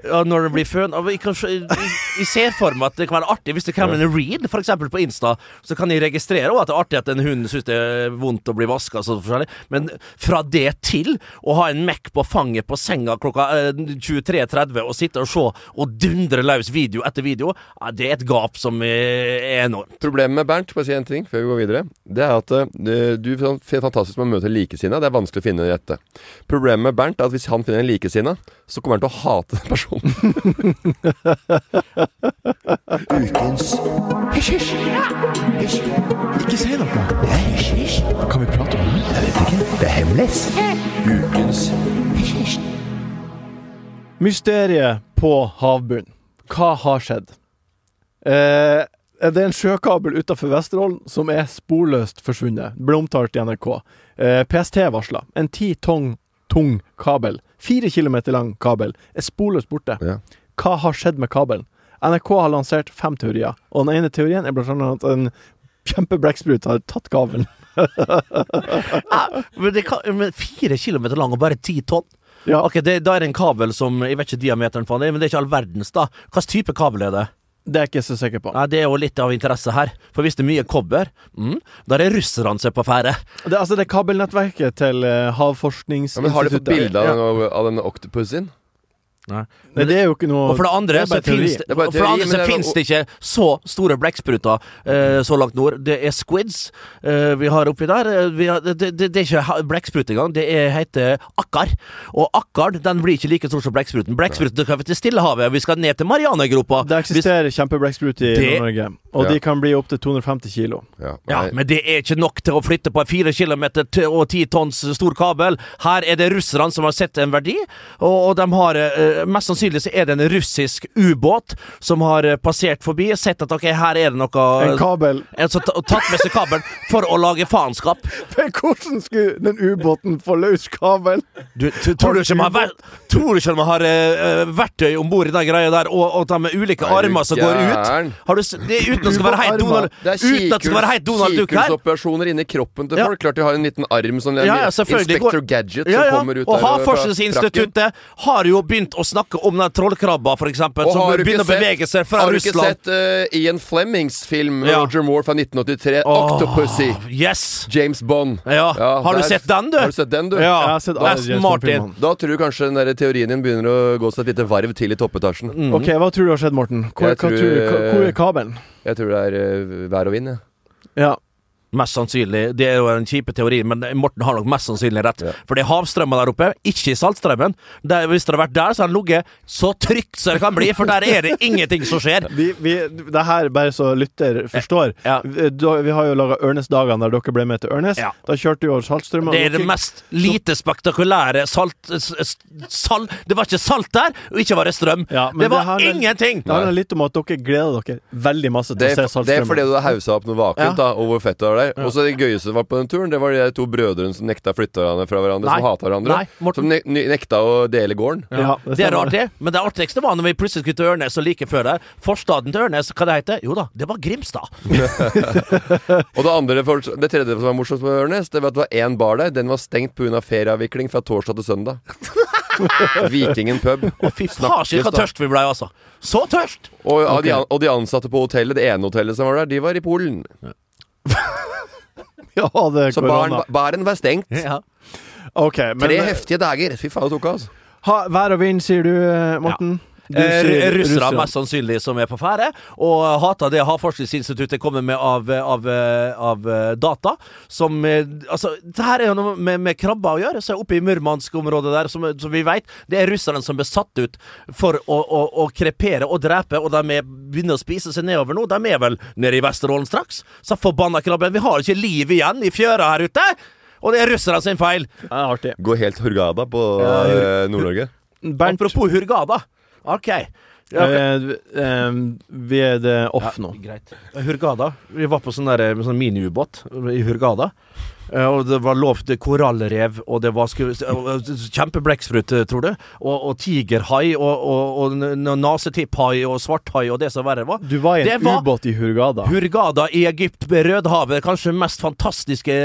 S4: ja, når det blir føn. Og Jeg, kan se- jeg, jeg ser for meg at det kan være artig hvis det kommer en read, for eksempel på Insta, så kan jeg registrere også at det er artig at en hund syns det er vondt å bli vaska og sånn forskjellig, men fra det til å ha en Mac på fanget på senga klokka eh, 23.30 og sitte og se og dundre løs video etter video, ja, det er et gap som eh, er enormt.
S5: Problemet med Bernt, bare si en ting før vi går videre, det er at eh, du er fantastisk med å møte likesinnede. Det er vanskelig å finne den rette. Problemet med Bernt er at hvis han finner en likesinna, så kommer han til å hate den personen.
S3: Ukens Hysj, hysj. Hysj. Ikke si noe. Det er hysj, hysj. Kan vi prate om det? Jeg vet ikke. Det er hemmelig. Ukens hysj, hysj.
S2: Mysteriet på havbunnen. Hva har skjedd? Eh, det er en sjøkabel utenfor Vesterålen som er sporløst forsvunnet. Ble omtalt i NRK. Eh, PST varsla. En ti tonn tung kabel, fire kilometer lang kabel, er sporløst borte.
S5: Ja.
S2: Hva har skjedd med kabelen? NRK har lansert fem teorier, og den ene teorien er blant annet at en kjempebrekksprut har tatt kabelen.
S4: Ah, Men, det kan, men fire kilometer lang og bare ti tonn?
S2: Ja.
S4: Ok, det, Da er det en kabel som Jeg vet ikke diameteren på den, er, men det er ikke all verdens, da. Hva slags type kabel er det?
S2: Det er jeg ikke så sikker på.
S4: Nei, Det er jo litt av interesse her. For hvis det er mye kobber, mm, da er det russerne som er på ferde.
S2: Det, altså, det er kabelnettverket til eh,
S5: Ja, men
S2: Havforskningsinstituttet.
S5: har du fått bilde av,
S2: Ja.
S5: den- av den octopusen?
S2: Nei, det er jo ikke noe
S4: Og for det andre
S2: er
S4: så
S2: bare teori.
S4: fins det,
S5: Det er bare
S4: for det,
S5: teori,
S4: andre så
S5: men det er-
S4: finnes det ikke så store blekkspruter eh, så langt nord. Det er squids eh, vi har oppi der. Eh, Vi har, det, det, det er ikke ha- blekksprut engang. Det er, heter akkar. Og akkar den blir ikke like stor som blekkspruten. Blekkspruten skal vi til Stillehavet, og vi skal ned til Marianergropa.
S2: Det eksisterer kjempeblekksprut i
S4: Det-
S2: Norge, og
S5: Ja.
S2: de kan bli opptil 250 kilo.
S5: Ja.
S4: Ja,
S5: nei.
S4: men det er ikke nok til å flytte på en fire kilometer t- og ti tonns stor kabel. Her er det russerne som har sett en verdi, og, og de har eh, Mest sannsynlig så er det en russisk ubåt som har eh, passert forbi, sett at ok, her er det noe
S2: En kabel.
S4: En som ta- tatt med seg kabelen for å lage faenskap.
S2: Men hvordan skulle den ubåten få løs kabel?
S4: Du, t- tror, du ikke de har, ver- tror du ikke de har eh, eh, verktøy om bord i den greia der, og, og at de med ulike
S5: Er du
S4: armer som går
S5: gæren?
S4: ut? Har du, s- det, er uten at det skal være helt
S2: Ubåtarmer.
S4: Donald Uten at det skal være helt Donald Duck her.
S5: kikulsoperasjoner inni kroppen til
S4: Ja.
S5: folk. Klart de har en liten arm som
S4: Ja, ja, selvfølgelig.
S5: Inspector
S4: Går-
S5: Gadget
S4: Ja, ja.
S5: som kommer ut
S4: og
S5: der fra frakken.
S4: Havforskningsinstituttet har jo begynt å snakke om den trollkrabba, for eksempel,
S5: Og
S4: som
S5: har du ikke
S4: begynner å bevege seg fra
S5: har du ikke
S4: Russland.
S5: sett eh, Ian Flemings film med
S4: Ja.
S5: Roger Moore fra 1983,
S4: Åh.
S5: 'Octopussy'?
S4: Ah, Yes!
S5: James Bond.
S4: Ja. Har du sett den, du?
S5: Har du sett den, du?
S2: Jeg
S4: Ja,
S2: har sett alle
S4: Aston
S2: James
S4: Martin.
S2: Bond-filmene.
S5: Da tror du kanskje den der teorien din begynner å gå seg et lite varv til i toppetasjen.
S4: Mm.
S2: Ok, Hva tror du har skjedd, Morten? Hvor,
S5: Jeg
S2: hva
S5: tror- eh,
S2: tror, du- hva- hvor er kabelen?
S5: Jeg tror det er eh, vær og vind, jeg.
S2: Ja.
S4: Mest sannsynlig. Det er jo en kjipe teori, men Morten har nok mest sannsynlig rett. For det er havstrømmen der oppe, ikke i Saltstraumen. Der- Hvis det hadde vært der, så hadde den ligget så trygt som det kan bli, for der er det ingenting som skjer.
S2: Vi, vi, det her, bare så lytter forstår
S4: Ja.
S2: Vi- da- Vi har jo laga Ørnes-dagene der dere ble med til Ørnes.
S4: Ja.
S2: Da kjørte vi over Saltstraumen.
S4: Det er
S2: og
S4: det
S2: dere-
S4: mest lite spektakulære salt... s- s- Salt Det var ikke salt der, og ikke var det strøm.
S2: Ja, men
S4: det var
S2: det handler-
S4: ingenting!
S2: Det handler litt om at dere gleder dere veldig masse til
S5: Det
S2: å se
S5: er, det er
S2: Saltstraumen.
S5: fordi du har hausa opp noe
S2: Ja.
S5: vakuum, da, og hvor fett det var der. Og så det gøyeste som var på den turen, det var de der to brødrene som nekta å flytte hverandre fra hverandre,
S4: Nei.
S5: som hata hverandre.
S4: Nei, Morten.
S5: som ne ne- nekta å dele gården.
S2: Ja, det
S4: Det er
S2: stemmer.
S4: rart, det. Men det artigste var når vi plutselig skulle til Ørnes og like før der. Forstaden til Ørnes, hva det heter Jo da, det var Grimstad.
S5: Og det, andre, for- det tredje som var morsomt med Ørnes, det var at det var én bar der. Den var stengt pga. ferieavvikling fra torsdag til søndag. Vikingen pub.
S4: Å, fy faen, så tørst vi ble, altså. Så tørst!
S5: Og, av de, an- og de ansatte på hotellet, det ene hotellet som var der, de var i Polen.
S2: Ja, det er
S5: Så baren,
S2: korona.
S5: baren var stengt.
S4: Ja.
S2: Ok, men eh,
S5: Tre heftige dager. Fy faen, det tok av, altså.
S2: ha, Vær og vind, sier du, eh, Morten. Du
S4: Eh,
S2: sier
S4: Russere,
S2: russerne.
S4: mest sannsynlig, som er på ferde. Og hater det Havforskningsinstituttet kommer med av, av, av eh, data. Som eh, Altså, det her er jo noe med, med krabber å gjøre. Så oppe i Murmansk-området der, som, som vi veit, det er russerne som ble satt ut for å, å, å krepere og drepe, og de er begynner å spise seg nedover nå. De er vel nede i Vesterålen straks. Så forbanna krabben. Vi har jo ikke liv igjen i fjøra her ute! Og det er russerne sin feil!
S2: Ja, det er artig.
S5: Gå helt hurgada på eh, Nord-Norge.
S2: Bernt,
S4: Apropos Hurgada. OK. Ja, ok.
S2: eh, eh, vi er det off nå.
S4: Greit. Hurgada. Eh, Vi var på sånn, der- med sånn miniubåt i Hurgada. Eh, Og det var lovt korallrev, og det var sku- og- eh, og kjempblekksprut, eh, tror du. Og, og tigerhai, og, og, og n- n- nasetipphai, og svarthai, og det som verre var.
S2: Du var i
S4: Det
S2: en ubåt i Hurgada.
S4: Hurgada i Egypt ved Rødehavet. Kanskje det mest fantastiske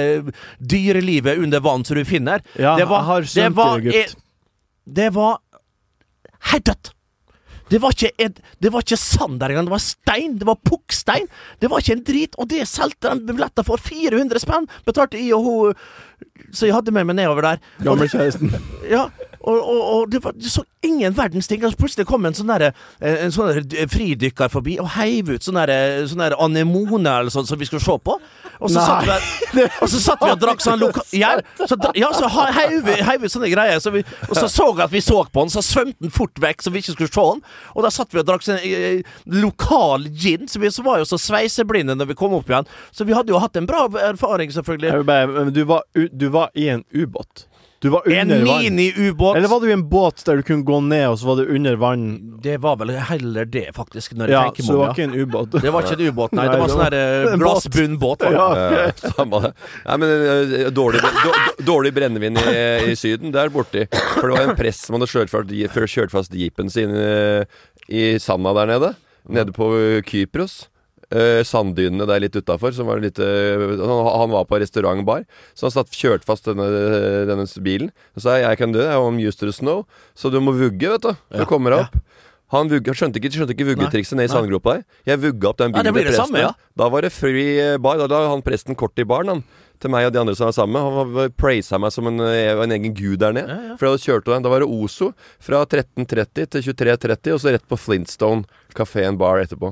S4: dyrelivet under vann som du finner.
S2: Ja,
S4: det var,
S2: jeg har skjønt
S4: det var,
S2: det, gutt.
S4: e- Det var helt dødt. Det var ikke, en, det var ikke sand der engang. Det var stein. Det var pukkstein. Det var ikke en drit. Og det solgte de billetter for 400 spenn! Betalte jeg og hun Så jeg hadde med meg nedover der.
S2: Gamlekjæresten.
S4: Ja, og, og, og det var det så ingen verdens ting. Altså, plutselig kom en sånn derre En sånn derre fridykker forbi og heiv ut sånn derre sånn derre anemone eller sånn som vi skulle se på. Og så satt vi der, og så satt vi og drakk sånn loka... Ja, så, dra- ja, så ha- heiv vi- heiv ut sånne greier. Så vi, og så så at vi så på den, så svømte den fort vekk så vi ikke skulle se den. Og da satt vi og drakk sånn eh, lokal gin, så vi så var jo så sveiseblinde når vi kom opp igjen. Så vi hadde jo hatt en bra erfaring,
S2: Jeg
S4: selvfølgelig.
S2: vil bare- men Du, var u- du var i en ubåt. Du var
S4: En
S2: under vann.
S4: mini-ubåt.
S2: Eller var du i en båt der du kunne gå ned, og så var du under vann?
S4: Det var vel heller det, faktisk, når jeg
S2: Ja,
S4: tenker
S2: så det
S4: meg
S2: var
S4: om.
S2: ikke
S4: ja.
S2: en ubåt.
S4: Det var ikke en ubåt, nei.
S2: Nei,
S4: Det var
S2: det
S4: sånn der eh,
S2: en båt.
S4: glassbunnbåt. var det.
S2: Ja.
S5: Eh, samme det. Nei, men eh, dårlig, då- dårlig brennevin i, i Syden, det er borti. For det var en prest som hadde kjørt fast, kjørt fast jeepen sin eh, i sanda der nede. Nede på eh, Kypros. Eh, sanddynene der litt utafor. Han, han var på restaurant bar, så han satt kjørt fast denne, denne bilen. Så sa jeg 'jeg kan dø, I'm used to the snow', så du må vugge, vet du. Du kommer deg opp. Han, vugge, han skjønte ikke, skjønte ikke vuggetrikset ned i sandgropa der. Jeg vugga opp den
S4: Ja,
S5: bilen
S4: det blir
S5: til
S4: det samme,
S5: presten.
S4: ja.
S5: Da var det fri eh, bar. Da la han presten kort i baren, han. Til meg og de andre som var sammen. Han var- praisa meg som en, eh, jeg var en egen gud der nede. For da kjørte han Da var det Ozo fra 13.30 til 23.30, og så rett på Flintstone kafeen bar etterpå.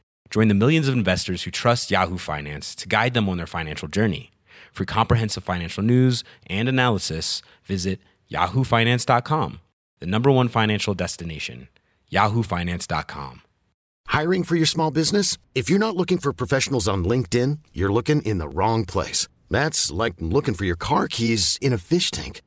S7: Join the millions of investors who trust Yahoo Finance to guide them on their financial journey. For comprehensive financial news and analysis, visit yahoofinance.com, the number one financial destination, yahoofinance.com.
S8: Hiring for your small business? If you're not looking for professionals on LinkedIn, you're looking in the wrong place. That's like looking for your car keys in a fish tank.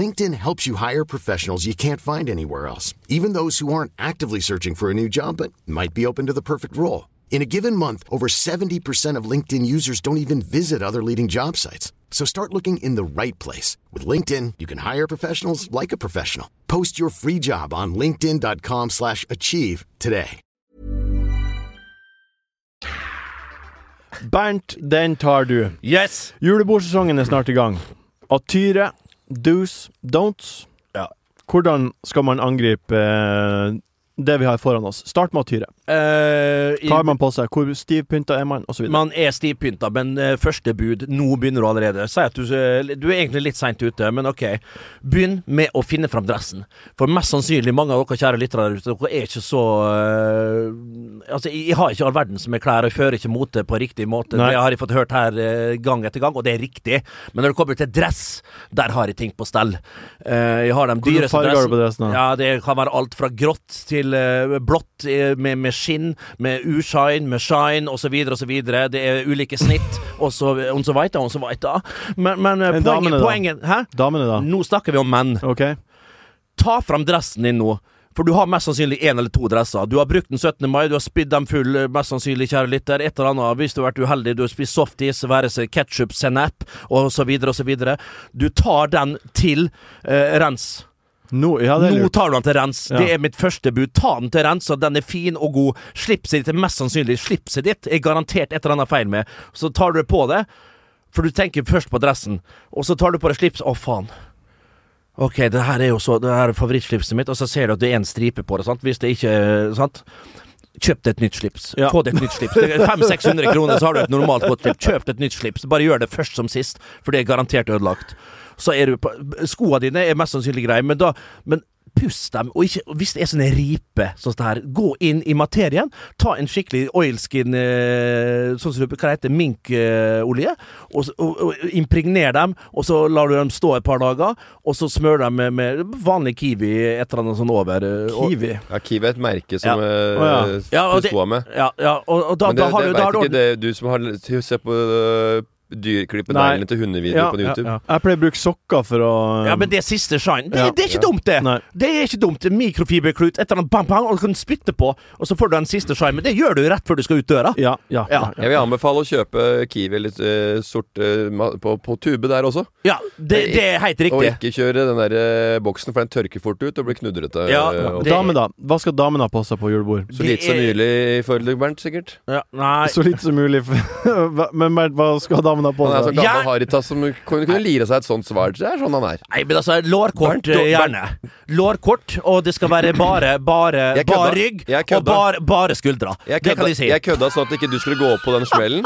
S8: LinkedIn helps you hire professionals you can't find anywhere else, even those who aren't actively searching for a new job but might be open to the perfect role. In a given month, over 70% of LinkedIn users don't even visit other leading job sites. So start looking in the right place. With LinkedIn, you can hire professionals like a professional. Post your free job on linkedin.com/achieve slash achieve today.
S2: Bernt, den tar du.
S4: Yes!
S2: Julebordsesongen er snart i gang. Atyre, do's, don'ts.
S4: Ja.
S2: Hvordan skal man angripe eh, det vi har foran oss? Start med atyre.
S4: Eh, i-
S2: Tar man på seg? Hvor stivpynta er man? Og så videre.
S4: Man er stivpynta, men eh, første bud Nå begynner du allerede. Si at du, eh, du er egentlig litt seint ute, men OK. Begynn med å finne fram dressen. For mest sannsynlig, mange av dere kjære lyttere der ute, dere er ikke så eh, Altså, jeg, jeg har ikke all verdens med klær, og jeg fører ikke mote på riktig måte.
S2: Nei.
S4: Det har jeg fått hørt her eh, gang etter gang, og det er riktig. Men når det kommer til dress, der har jeg ting på stell. Eh, jeg har de
S2: Hvilken
S4: dyreste
S2: farge har du på
S4: dressene.
S2: dressen? da?
S4: Ja, det kan være alt fra grått til eh, blått eh, med, med skinn, med ushine, med shine osv. osv. Det er ulike snitt, og så og så veit jeg, og så veit jeg. Men, men eh,
S2: Men damene
S4: poenget,
S2: da?
S4: poenget Hæ?
S2: Damene, da?
S4: Nå snakker vi om menn.
S2: OK.
S4: Ta fram dressen din nå. For du har mest sannsynlig én eller to dresser. Du har brukt den 17. mai, du har spydd dem full, eh, mest sannsynlig, kjære lytter. Et eller annet, hvis du har vært uheldig, du har spist softis, være seg ketsjup, sennep osv., osv. Du tar den til eh, rens.
S2: Nå, ja, det er
S4: Nå
S2: lurt.
S4: tar du den til rens.
S2: Ja.
S4: Det er mitt første bud. Ta den til rens, så den er fin og god. Slipset ditt er mest sannsynlig slipset ditt. Er garantert et eller annet feil med. Så tar du det på det, for du tenker først på dressen, og så tar du på deg slips. Å, faen. Ok, det her er jo så Det her er favorittslipset mitt, og så ser du at det er en stripe på det, sant. Hvis det ikke eh, Sant. Kjøp deg et nytt slips.
S2: Ja.
S4: Få deg et nytt slips. 500-600 kroner, så har du et normalt godt slips. Kjøp deg et nytt slips. Bare gjør det først som sist, for det er garantert ødelagt. Så er du på Skoa dine er mest sannsynlig greie, men da Men puss dem, og ikke Hvis det er sånne riper, sånn som det her, gå inn i materien. Ta en skikkelig oilskin eh, Sånn som du, hva det heter minkolje, og, så- og, og impregner dem, og så lar du dem stå et par dager, og så smører dem med, med vanlig kiwi, et eller annet sånn over. eh, og-
S2: Kiwi.
S5: Ja, Kiwi er et merke som
S4: Ja.
S5: eh,
S2: Å, ja.
S4: Ja, og
S5: du
S4: det-
S5: skoa med.
S4: Ja, ja og, og da,
S5: Men det,
S4: da har
S5: det
S4: du
S5: vet
S4: da har du
S5: ikke det, du som har Se på uh, dyrklippet
S2: Nei.
S5: neglene til hundevideoer på YouTube.
S2: ja. Jeg pleier å bruke sokker for å
S4: Ja, men det er siste shine. Det,
S2: Ja.
S4: det er ikke dumt, det.
S2: Nei.
S4: Det er ikke dumt. En Mikrofiberklut, et eller annet bang, bang, og du kan spytte på, og så får du den siste shine. Men det gjør du jo rett før du skal ut døra.
S2: Ja, ja, ja.
S4: Ja.
S5: Jeg vil anbefale å kjøpe Kiwi litt eh, sort eh, ma- på, på tube der også.
S4: Ja, det, det er helt
S5: Og
S4: riktig.
S5: ikke kjøre den der eh, boksen, for den tørker fort ut og blir knudrete.
S4: Ja,
S5: eh,
S4: ja.
S5: og-
S4: det-
S2: Damene, da. Hva skal damene ha på seg på julebord?
S5: Så lite som
S4: det er-
S5: mulig i forhold til Bernt, sikkert.
S4: Ja, nei.
S2: Så lite som mulig. Hva- men Bernt, hva skal damene ha på
S5: Han er så
S2: seg?
S5: gammel
S4: Jeg-
S5: Haritas som kunne, kunne lire seg et sånt svar. Det er sånn han er.
S4: Nei, men altså, lårkort,
S5: Bernt,
S4: eh, gjerne. Lårkort, og det skal være bare bare,
S5: Jeg kødda.
S4: bare rygg
S5: Jeg
S4: og
S5: kødda.
S4: bare, bare skuldra.
S5: Jeg
S4: det
S5: kødda,
S4: kan de si.
S5: jeg kødda sånn at ikke du skulle gå opp på den smellen,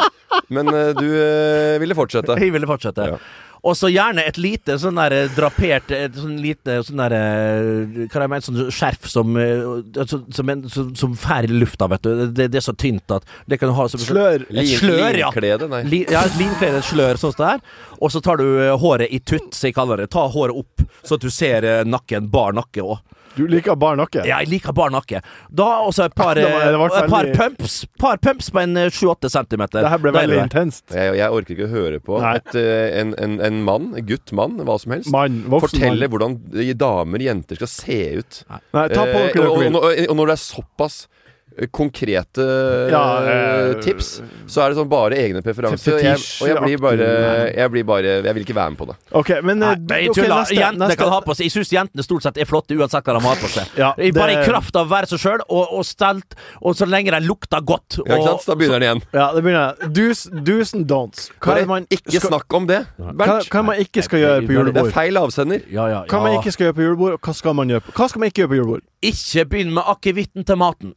S5: men eh, du eh, ville fortsette.
S4: Jeg ville fortsette.
S5: Ja.
S4: Og så gjerne et lite sånn der eh, drapert et sånn lite sånn der eh, Hva er det jeg mener? Sånn skjerf som eh, altså, Som, en, som, som fær i lufta, vet du. Det, det er så tynt at det kan du ha som
S2: Slør.
S4: Et slør, ja.
S5: Linklede, nei.
S4: Li, ja, et linklede, et slør, sånn som det her. Og så tar du eh, håret i tutt, som jeg kaller det. Ta håret opp, så at du ser eh, nakken. Bar nakke òg.
S2: Du liker bar nakke?
S4: Ja, jeg liker bar nakke. Da også et par,
S2: Det var- det
S4: eh,
S2: var
S4: et par
S2: veldig-
S4: pumps. Par pumps på en eh, 7-8 centimeter.
S2: Det her ble
S4: Da er
S2: veldig
S4: det der.
S2: intenst.
S5: Jeg, jeg orker ikke å høre på
S2: Nei.
S5: at eh, en, en, en mann, en gutt, mann, hva som helst,
S2: Mann. Voksen
S5: forteller
S2: mann.
S5: hvordan eh, damer, jenter, skal se ut.
S2: Nei, ta på
S5: Eh,
S2: dere
S5: og,
S2: dere
S5: og,
S2: vil.
S5: og, og når det er såpass eh, konkrete eh,
S2: Ja, eh,
S5: tips, så er det sånn bare egne preferanser. Og jeg, og jeg blir bare Jeg blir bare Jeg vil ikke være med på det.
S2: OK, men eh,
S4: Nei, nei,
S2: ok,
S4: tulla.
S2: neste,
S4: jentene
S2: neste.
S4: kan ha på seg Jeg syns jentene stort sett er flotte uansett hva de har på seg.
S2: Ja,
S4: I- Bare i
S2: det-
S4: kraft av å være seg sjøl og, og stelt, og så lenge de lukter godt.
S5: Ja, ikke
S4: og,
S5: sant? Da begynner den igjen.
S2: Ja, det begynner jeg. Do's, do's and don'ts. Hva er det man
S5: ikke
S2: skal,
S5: snakk om det,
S2: hva,
S5: Bernt.
S2: hva man ikke skal gjøre på
S5: Det er
S2: julebord?
S5: feil avsender.
S4: ja, ja,
S2: Hva man
S4: ja.
S2: ikke skal gjøre på julebord, og hva skal man gjøre på Hva skal man ikke gjøre på julebord?
S4: Ikke begynn med akevitten til maten.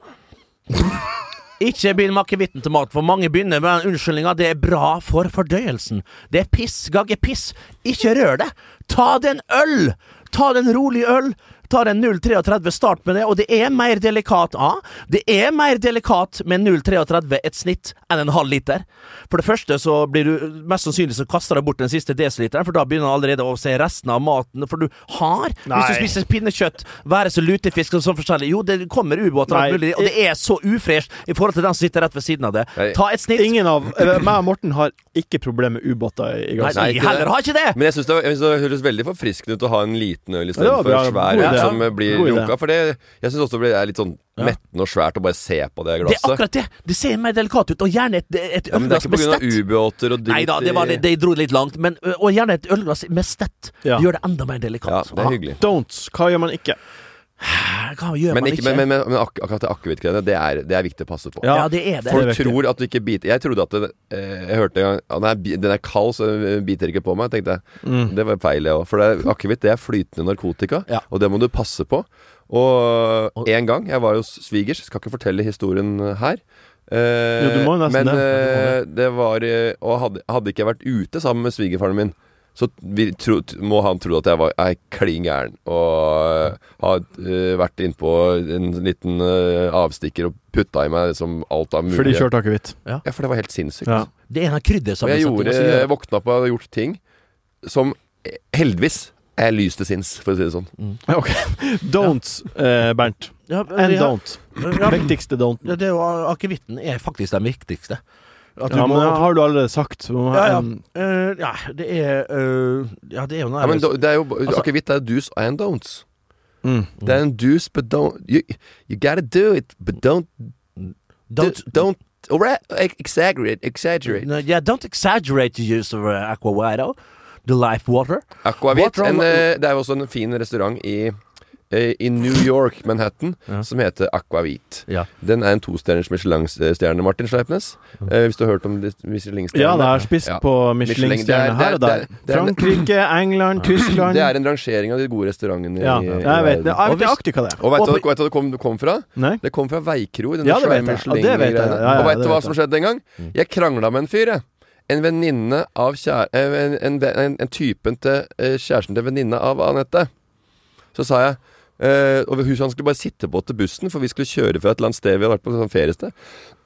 S4: Ikke begynn med akevitten til maten, for mange begynner med den unnskyldninga 'det er bra for fordøyelsen'. Det er piss, gagge piss. Ikke rør det. Ta deg en øl! Ta deg en rolig øl. Ta deg en 0,33, start med det, og det er mer delikat A. Det er mer delikat med 0,33 et snitt enn en halv liter. For det første så blir du mest sannsynlig så kaster du bort den siste desiliteren, for da begynner du allerede å se resten av maten, for du har Hvis du
S2: Nei.
S4: spiser pinnekjøtt, være så lutefisk og sånn forskjellig. Jo, det kommer ubåter, og alt
S2: Nei,
S4: mulig, og det er så ufresht i forhold til den som sitter rett ved siden av det.
S5: Nei.
S4: Ta et snitt.
S2: Ingen av eller, Meg og Morten har ikke problemer med ubåter i
S4: Nei,
S2: gass.
S5: Nei, ikke
S4: vi
S5: det.
S4: heller har ikke det!
S5: Men jeg syns det, jeg synes det høres veldig forfriskende ut å ha en liten øl
S2: Ja, det var
S5: istedenfor
S2: bra.
S5: svær
S2: God
S5: øl
S2: idé.
S5: som eh, blir
S2: God idé.
S5: lunka. For det, jeg syns også det blir- det er litt sånn mettende og svært å bare se på det
S4: Det er
S5: glasset.
S4: akkurat det! Det ser mer delikat ut, og gjerne et, et
S5: Ja, men det er
S4: ølglass
S5: ikke
S4: med
S5: pga.
S4: stett.
S5: ubåter og dritt
S4: Nei da, det var
S5: i-
S4: det, det dro litt langt, men ø, Og gjerne et ølglass med stett.
S2: Ja.
S4: Det gjør det enda mer
S5: Ja,
S4: delikat.
S5: det er hyggelig.
S2: Don'ts. Hva gjør man ikke?
S4: Ah, Hva gjør
S5: Men, ikke,
S4: man ikke?
S5: men, men, men, men ak akkurat det akevittgreiene, det, er- det er viktig å passe på.
S4: ja, det er det.
S2: For-
S5: Folk
S2: viktig.
S5: tror at du ikke biter Jeg trodde at det, eh, Jeg hørte en gang ja, den, er, bi- den er kald, så den biter ikke på meg, tenkte jeg.
S2: Mm.
S5: Det var feil, jeg òg. For det er- akevitt det er flytende narkotika,
S4: Ja.
S5: og det må du passe på. Og en gang Jeg var hos svigers, skal ikke fortelle historien her. Eh,
S2: Jo, du må jo nesten
S5: men
S2: det.
S5: eh, det var eh, Og hadde, hadde ikke jeg vært ute sammen med svigerfaren min, så vi tro, t- må han tro at jeg var er klin gæren og eh, har eh, vært innpå en liten eh, avstikker og putta i meg liksom alt av mulig.
S2: For de kjørte akevitt.
S5: Ja, for det var helt sinnssykt.
S2: Ja.
S4: Det er en av
S5: Og jeg,
S4: kryddersammensetningene
S5: gjorde,
S4: som gjør
S5: jeg våkna opp og hadde gjort ting som eh, heldigvis er lys til sinns, for å si det sånn.
S2: Ok. Don'ts, eh, Bernt.
S4: ja,
S2: And
S4: ja,
S2: don't.
S4: ja,
S2: Viktigste don't.
S4: ja, det er jo Akevitten er faktisk den viktigste. At du
S2: Ja,
S4: må
S2: men det har du allerede sagt. så må-
S4: ja, ja.
S2: um,
S4: Eh, ja, det er eh, Ja, det er jo noe
S5: Ja, men
S4: annet.
S5: do- det er jo
S4: Altså-
S5: Akevitt er do's and don'ts.
S2: Mm.
S5: Det er en do's, but don't you, you gotta do it, but don't Don't,
S4: Don't-
S5: don't ora- ex- exaggerate, exaggerate.
S4: No, yeah, don't exaggerate the use of uh, aquavado, the life water.
S5: Aquavit.
S4: What wrong-
S5: En, eh, det er jo også en fin restaurant i, eh, i New York, Manhattan, som heter Aquavit.
S4: Ja.
S5: Den er en tostjerners Michelin-stjerne, Martin Sleipnes. Eh, hvis du har hørt om det- Michelin-stjerne?
S2: Ja, det er spist
S5: Ja.
S2: på
S5: Michelin, det er-
S2: Michelin-stjerne her og
S5: det er-
S2: der.
S5: det er en-
S2: Frankrike, England, Tyskland
S5: Det er en rangering av de gode restaurantene
S2: Ja,
S5: i, i
S2: jeg vet det.
S5: verden.
S2: Jeg
S4: Og
S2: vet
S4: hvis-
S2: nøyaktig hva det er.
S5: Og vet
S4: Og
S5: du
S4: vi-
S5: hva det kom, det kom fra?
S2: Nei?
S5: Det kom fra Veikro. denne
S2: Ja, det
S5: svære
S2: vet jeg. Ja, det vet jeg.
S5: Michelin-greiene.
S2: Ja, ja,
S5: og
S2: ja,
S5: vet
S2: det
S5: du hva
S2: vet
S5: som
S2: jeg. Mm.
S5: skjedde den gang? Jeg krangla med en fyr, jeg. En venninne av kjære... eh, En, en, en, en typen til eh, kjæresten til venninna av Anette. Så sa jeg eh, Og hun sa han skulle bare sitte på til bussen, for vi skulle kjøre fra et eller annet sted vi hadde vært på, et sånt feriested.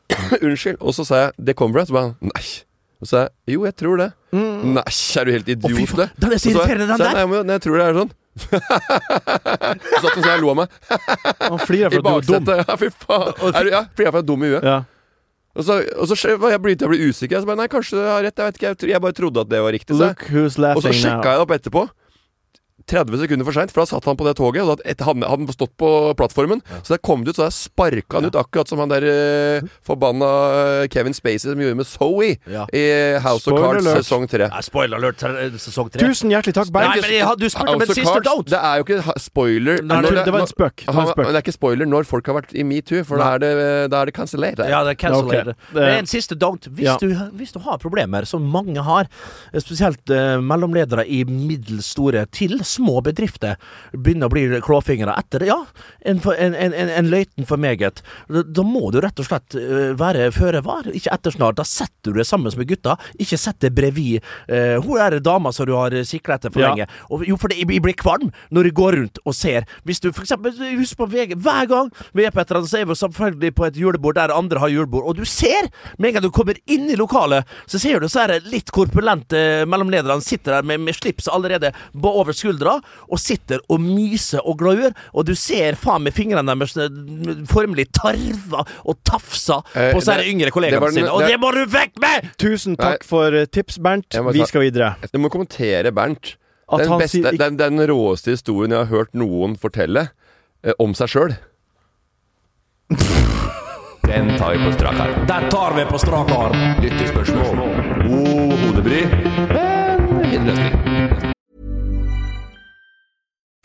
S5: Unnskyld. Og så sa jeg 'det kommer fra', så ba han 'nei'. Og så sa jeg 'jo, jeg tror det'.
S2: Mm.
S5: Nei, er du helt
S4: fy
S5: idiot,
S4: faen,
S5: det?
S4: den er så
S5: Og sa jeg-
S4: irriterende, den
S5: sa jeg,
S4: der.
S5: Nei, men, jeg tror det er sånn. så satt hun sånn og lo av meg.
S2: Han flirer
S5: I
S2: for at du er dum.
S5: baksetet. Ja, fy faen. Er du, ja, fordi jeg er dum i huet.
S2: Ja.
S5: Og så, og så skje- var jeg begynte jeg å bli usikker. Jeg så bare, nei, kanskje du har rett. Jeg vet ikke, jeg, tro- jeg bare trodde at det var riktig. Så. jeg-
S2: Look who's
S5: Og så
S2: laughing now.
S5: sjekka jeg det opp etterpå. 30 sekunder for seint, for da satt han på det toget. Og da et, han han hadde stått på plattformen. Så der kom det ut, så der sparka han ut, akkurat som han der eh, forbanna eh, Kevin Spacey som gjorde med Zoe
S4: Ja.
S5: i House
S2: Spoiler
S5: of Cards
S2: alert.
S5: sesong 3.
S4: Ja, spoiler alert, tre- sesong tre.
S2: Tusen hjertelig takk,
S4: Nei,
S2: Bernt.
S4: men jeg, har- du spurte om
S5: House
S4: en
S5: of
S4: siste
S5: Cards,
S4: don't!
S5: Det er jo ikke ha- spoiler.
S4: Nei,
S5: når
S4: det-
S2: Det var en spøk. Det var en
S5: han-
S2: spøk.
S5: det er ikke spoiler når folk har vært i metoo, for da er det, eh, da er det cancellert.
S4: Ja, det er cancel
S2: Ok.
S4: later.
S2: Det-
S4: Men en siste don't. Hvis,
S2: Ja.
S4: du, hvis du har problemer, som mange har, spesielt eh, mellomledere i middels store til små bedrifter, begynner å bli klåfingre etter det, ja, en, for- en, en, en, en løyten for meget, da, da må du rett og slett eh, være føre var, ikke ettersnart. Da setter du deg sammen med gutta, ikke sett deg bredvid eh, hun er dama som du har eh, siklet etter for
S2: Ja.
S4: lenge. Og, jo, for det, jeg blir kvalm når jeg går rundt og ser. Hvis du for eksempel, husk på VG, hver gang vi er på et eller annet, så er vi selvfølgelig på et julebord der andre har julebord, og du ser, med en gang du kommer inn i lokalet, så ser du så er det litt korpulente mellomlederne sitter der med, med slips allerede ba- over skuldra, og sitter og myser og glaur, og du ser faen med fingrene deres eh, formelig tarva og tafsa
S5: Eh,
S4: på sine
S5: det-
S4: yngre
S5: det var
S4: kollegaene
S5: den-
S4: sine, og
S5: det-
S4: det må du vekk med!
S2: Tusen takk for eh, tips, Bernt.
S5: Jeg må
S2: Vi
S5: ta-
S2: skal videre.
S5: Du må kommentere Bernt.
S2: At
S5: den,
S2: han
S5: beste,
S2: sier ikke-
S5: den, den råeste historien jeg har hørt noen fortelle eh, om seg sjøl. Den tar vi på strak arm.
S4: Der tar vi på strak arm.
S5: Lyttespørsmål. God hodebry. Men fin løsning.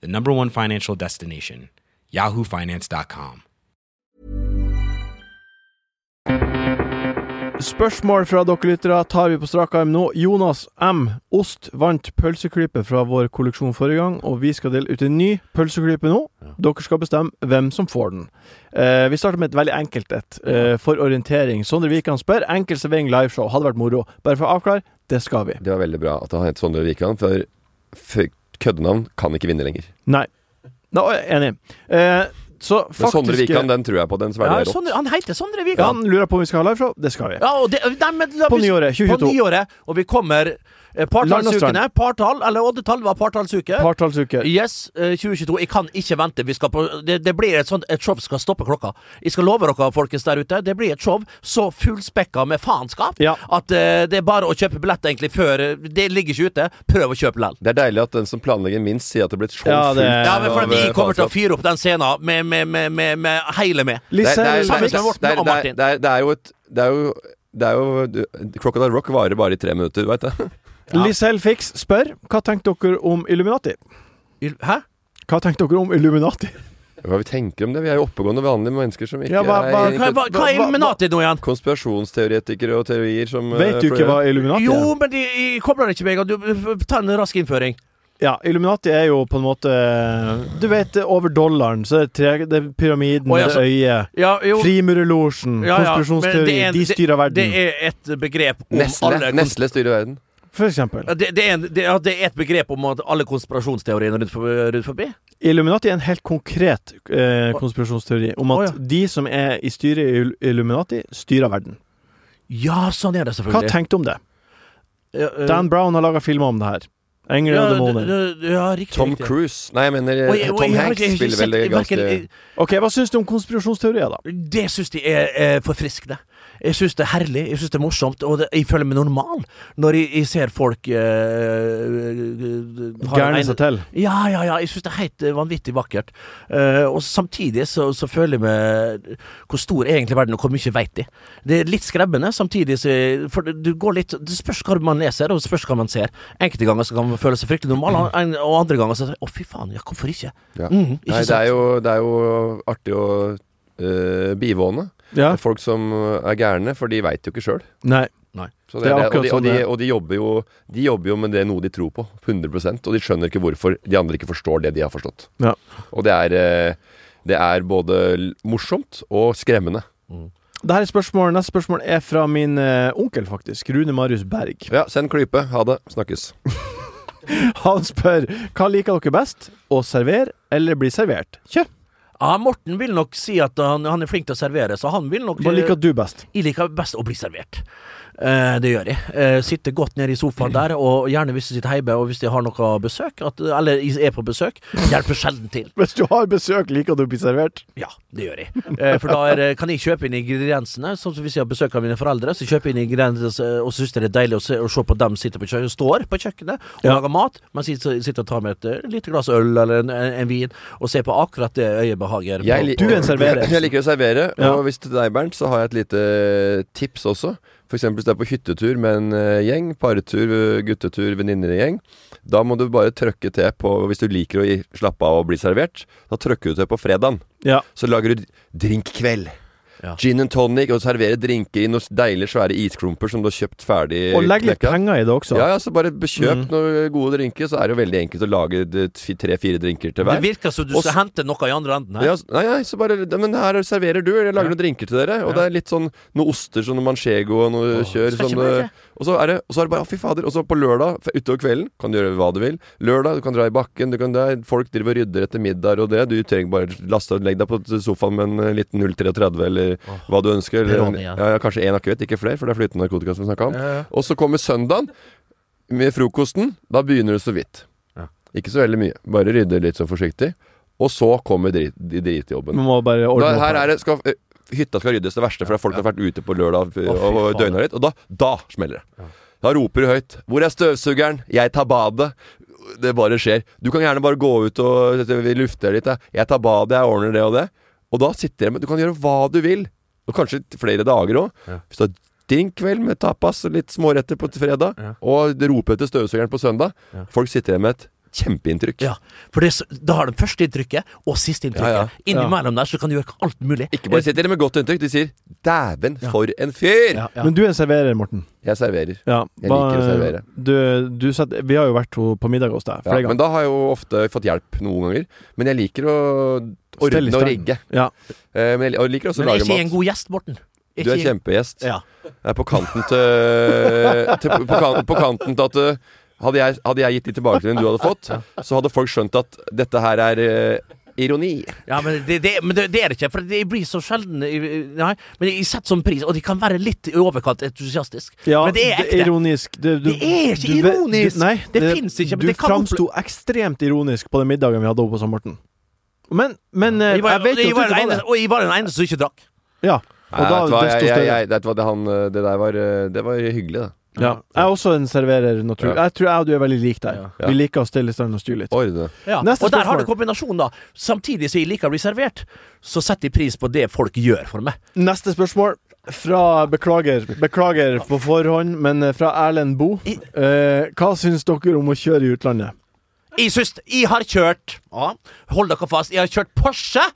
S7: the number one financial destination, yahoofinance.com.
S2: Spørsmål fra dere lyttere tar vi på strak arm nå. Jonas M. Ost vant pølseklype fra vår kolleksjon forrige gang, og vi skal dele ut en ny pølseklype nå. Dere skal bestemme hvem som får den. Eh, vi starter med et veldig enkelt et, eh, for orientering. Sondre Wikan spør enkel servering liveshow. Hadde vært moro. Bare for å avklare, det skal vi.
S5: Det var veldig bra at han het Sondre Wikan, for, for køddenavn kan ikke vinne lenger.
S2: Nei. Nå er jeg enig. Eh, så
S5: Men
S2: faktisk
S5: Sondre Wikan, den tror jeg på. Den
S4: Ja,
S5: sverger jeg rått.
S4: Sondre, han heter Sondre
S2: Ja,
S4: Vikan.
S2: Han lurer på om vi skal ha liveshow. Det skal vi.
S4: Ja, og det, nei, men, la-
S2: På
S4: hvis-
S2: nyåret, 2022.
S4: På nyåret, og vi kommer eh,
S2: Land og strand.
S4: partallsukene. Partall, eller oddetall var partallsuke.
S2: Partallsuke.
S4: Yes, eh, 2022. Jeg kan ikke vente. Vi skal på, det, det blir et sånt et show som skal stoppe klokka. Jeg skal love dere, folkens der ute, det blir et show så fullspekka med faenskap
S2: Ja.
S4: at eh, det er bare å kjøpe billett egentlig før eh, Det ligger ikke ute. Prøv å kjøpe lell.
S5: Det er deilig at den som planlegger minst, sier at det blir show
S2: Ja, det-
S5: fullt.
S4: Ja, men for
S5: av,
S4: at vi
S5: eh,
S4: kommer til å
S5: faenskap.
S4: fyre opp den scenen med, med, med, med, med hele med.
S5: Det er- det
S2: Lisell
S5: er-
S4: Sammen
S5: det er-
S4: med Morten
S5: det er-
S4: og Martin.
S5: Det er- det er jo et Det er jo det er jo, du- Crocodile Rock varer bare i tre minutter, du veit det.
S2: Lisell Fix spør hva tenkte dere om Illuminati?
S4: Hæ?
S2: Hva tenkte dere om Illuminati?
S5: Hva vi tenker om det? Vi er jo oppegående, vanlige mennesker som ikke
S2: Ja, hva- hva-
S4: Hva,
S5: er
S4: hva, hva er Illuminati nå igjen?
S5: konspirasjonsteoretikere og teorier som eh,
S2: Vet du ikke hva Illuminati
S4: Jo,
S2: er?
S4: men de, de kobler ikke meg. og Du, ta en rask innføring.
S2: Ja, Illuminati er jo på en måte Du vet, over dollaren så er det, tre, det er pyramiden,
S4: Å, ja, så-
S2: det er øyet,
S4: Ja, jo.
S2: frimurerlosjen,
S4: Ja, ja, men
S2: konspirasjonsteori,
S4: det er en-
S2: de styrer
S4: Det
S2: verden,
S4: er et begrep om alle
S5: Nestle, Nestle styrer verden.
S2: for eksempel.
S4: Ja, Det, det, er en, det, ja, det er et begrep om at alle konspirasjonsteoriene rundt, for- rundt forbi.
S2: Illuminati er en helt konkret eh, konspirasjonsteori om
S4: Å,
S2: at
S4: ja.
S2: de som er i styret i Ill- Illuminati, styrer verden.
S4: Ja, sånn er det
S2: Hva
S4: selvfølgelig.
S2: tenkte du om det?
S4: Ja, eh,
S2: Dan Brown har laga filmer om det her. Engler
S4: ja,
S2: og demoner.
S4: d- d- ja, riktig.
S5: Tom
S4: riktig.
S5: Cruise Nei, jeg mener eh,
S4: Og jeg- og
S5: Tom
S4: jeg har
S5: Hanks
S4: ikke- jeg har ikke
S5: spiller vel
S4: sett-
S5: det ganske
S4: verken-
S2: Ok, Hva syns du om konspirasjonsteorier, da?
S4: Det syns de er, er forfriskende. Jeg syns det er herlig, jeg syns det er morsomt, og det, jeg føler meg normal når jeg, jeg ser folk eh, eh, har en
S2: Gærne
S4: ene-
S2: seg til.
S4: Ja, ja, ja. Jeg syns det er helt eh, vanvittig vakkert. Eh, og samtidig så, så føler jeg meg Hvor stor er egentlig verden, og hvor mye veit de? Det er litt skremmende, samtidig så For det- du går litt Det spørs hva man leser, og det spørs hva man ser. Enkelte ganger så kan man føle seg fryktelig normal, an- og andre ganger så Å, fy faen, ja, hvorfor ikke?
S5: Mm. ja.
S4: Mm, ikke
S5: Nei, det
S4: sant?
S5: er jo, det er jo artig å eh, bivåne.
S2: Ja.
S5: Folk som eh, er gærne, for de veit jo ikke sjøl.
S2: Nei.
S5: Så
S2: Det
S5: det
S2: er
S5: er det,
S2: akkurat
S5: og, de,
S2: sånn
S5: og, de,
S2: det er.
S5: og de, jobber jo, de jobber jo med det noe de tror på, 100 og de skjønner ikke hvorfor de andre ikke forstår det de har forstått.
S2: Ja.
S5: Og det er, eh, det er både l- morsomt og skremmende.
S2: Dette spørsmålet, neste spørsmål er fra min eh, onkel, faktisk. Rune Marius Berg.
S5: Ja, send klype. Ha det. Snakkes.
S2: Han spør hva liker dere best? Å servere eller bli servert? Kjør!
S4: Ja, Morten vil nok si at han, han er flink til å servere, så han vil nok
S2: Hva liker du best?
S4: Jeg liker best å bli servert. Eh, det gjør jeg. Eh, sitte godt nede i sofaen der, og gjerne hvis jeg sitter hjemme og hvis jeg har noe besøk, at, eller jeg er på besøk, hjelper sjelden til.
S2: Hvis du har besøk, liker du å bli servert?
S4: Ja, det gjør jeg. Eh, for da er, det- kan jeg kjøpe inn ingrediensene. Sånn som Hvis jeg har besøk av mine foreldre, så kjøper jeg inn ingrediensene, og så syns jeg det er deilig å se, å se på dem sitte på kjøkkenet, står på kjøkkenet og
S2: Ja.
S4: lager mat, mens jeg s- sitter og tar med et eh, lite glass øl eller en, en, en vin, og ser på akkurat det øyet behager.
S5: Jeg
S4: på-
S5: li-
S2: Du er en serverer.
S5: Jeg liker å servere,
S2: Ja.
S5: og hvis til deg, Bernt, så har jeg et lite eh, tips også. F.eks. hvis du er på hyttetur med en eh, gjeng, partur, eh, guttetur, venninnegjeng. Da må du bare trøkke til på Hvis du liker å gi, slappe av og bli servert, da trykker du til på fredagen.
S2: Ja.
S5: Så lager du drinkkveld.
S4: Ja.
S5: Gin and tonic, og serverer drinker i noen deilige, svære isklumper som du har kjøpt ferdig.
S2: Og legg litt
S5: knekka.
S2: penger i det også.
S5: Ja, ja, så bare kjøp
S2: Mm.
S5: noen gode drinker, så er det jo veldig enkelt å lage tre-fire drinker til
S4: Det
S5: hver.
S4: virker som du
S5: Og
S4: skal hente noe i andre enden her.
S5: Ja, s- nei, nei, så bare ja, Men her serverer du, eller jeg lager noen drinker til dere. Og det er litt sånn noe oster, sånn noe manchego og noe kjør.
S4: skal
S5: Sånn,
S4: ikke mer til.
S5: eh, og, så er det, og så er det bare Å, fy fader. Og så på lørdag, f- utover kvelden, kan du gjøre hva du vil. Lørdag, du kan dra i bakken. Du kan, det er, folk driver og rydder etter middag og det. Du trenger bare laste legg deg på sofaen med en eh, liten 033 eller hva du ønsker. Eller,
S4: Peroni, ja.
S5: ja. Ja, kanskje én akkurat, ikke flere, for det er flytende narkotika som vi snakka om.
S4: Eh,
S5: Og så kommer søndagen med frokosten. Da begynner du så vidt. Ikke så veldig mye. Bare rydde litt sånn forsiktig. Og så kommer drit, dritjobben.
S2: Man må bare
S5: Da,
S2: ordne opp.
S5: her er det, skal, eh, hytta skal ryddes det verste, for det er folk som har vært ute på lørdag eh,
S4: fy
S5: og
S4: faen.
S5: døgna litt. Og da, da smeller det. Da roper du høyt 'Hvor er støvsugeren? Jeg tar badet'. Det bare skjer. Du kan gjerne bare gå ut og vi lufter litt. jeg. 'Jeg tar badet, jeg ordner det og det'. Og da sitter jeg med Du kan gjøre hva du vil. Og kanskje flere dager òg. Hvis du har drinkkveld med tapas og litt småretter på fredag, og roper etter støvsugeren på søndag Folk sitter igjen med et kjempeinntrykk.
S4: Ja, for det, er så- da har de førsteinntrykket
S5: Ja, ja.
S4: og sisteinntrykket. Innimellom der så kan du gjøre alt mulig.
S5: Ikke bare sitter de med godt inntrykk, de sier 'dæven, for en fyr'!
S4: Ja, ja.
S2: Men du er en serverer, Morten.
S5: Jeg serverer.
S2: Ja,
S5: Jeg liker å servere.
S2: Du, du setter, vi har jo vært ho- på middag hos deg
S5: Ja,
S2: flere ganger.
S5: men da har jeg jo ofte fått hjelp noen ganger. Men jeg liker å
S2: Stell i
S5: ordne og
S2: stand.
S5: rigge.
S2: Ja.
S5: Eh, Men jeg li- og jeg liker også å
S4: Men er
S5: lage
S4: ikke jeg en
S5: mat.
S4: god gjest, Morten?
S5: Du er
S4: ikke jeg-
S5: kjempegjest.
S4: Ja.
S5: Jeg er på kanten til, til på, kan, på kanten til at eh, hadde jeg, hadde jeg gitt de tilbakemeldingene du hadde fått, så hadde folk skjønt at dette her er eh, ironi.
S4: Ja, men det, det, men det, det er det ikke, for det blir så sjelden eh, Nei, men jeg setter sånn pris, og de kan være litt i overkant entusiastisk.
S2: Ja,
S4: men det er ekte.
S2: ironisk. Det,
S4: Det er ikke
S2: ve-
S4: ironisk!
S2: nei,
S4: Det finnes ikke, men
S2: Du
S4: det kan
S2: framsto ekstremt ironisk på den middagen vi hadde oppe hos han Morten. Men, men eh,
S4: Jeg
S2: jeg,
S4: var,
S2: vet jo
S4: jeg
S2: at
S4: var
S2: du
S4: den
S2: ikke var
S4: ene,
S2: det.
S4: og jeg var den ene som ikke drakk.
S2: Ja.
S5: Nei,
S2: Og da
S5: vet du hva, jeg,
S2: desto
S5: jeg,
S2: større.
S5: jeg, vet du hva, det, han, eh, det der var, eh, det var hyggelig, da.
S2: Ja. Jeg er også en serverer, naturlig.
S5: Ja.
S2: Jeg tror jeg og du er veldig lik der.
S5: Ja.
S2: Vi liker å stille i stand og styre litt.
S5: Ordne.
S4: Ja.
S2: Neste
S4: og der har
S2: spørsmål.
S4: du kombinasjonen, da. Samtidig som jeg liker å bli servert, så setter jeg pris på det folk gjør for meg.
S2: Neste spørsmål fra Beklager. Beklager på forhånd, men eh, fra Erlend Bo
S4: I-
S2: Eh, hva syns dere om å kjøre i utlandet?
S4: Jeg syns Jeg har kjørt ja, Hold dere fast, jeg har kjørt Porsche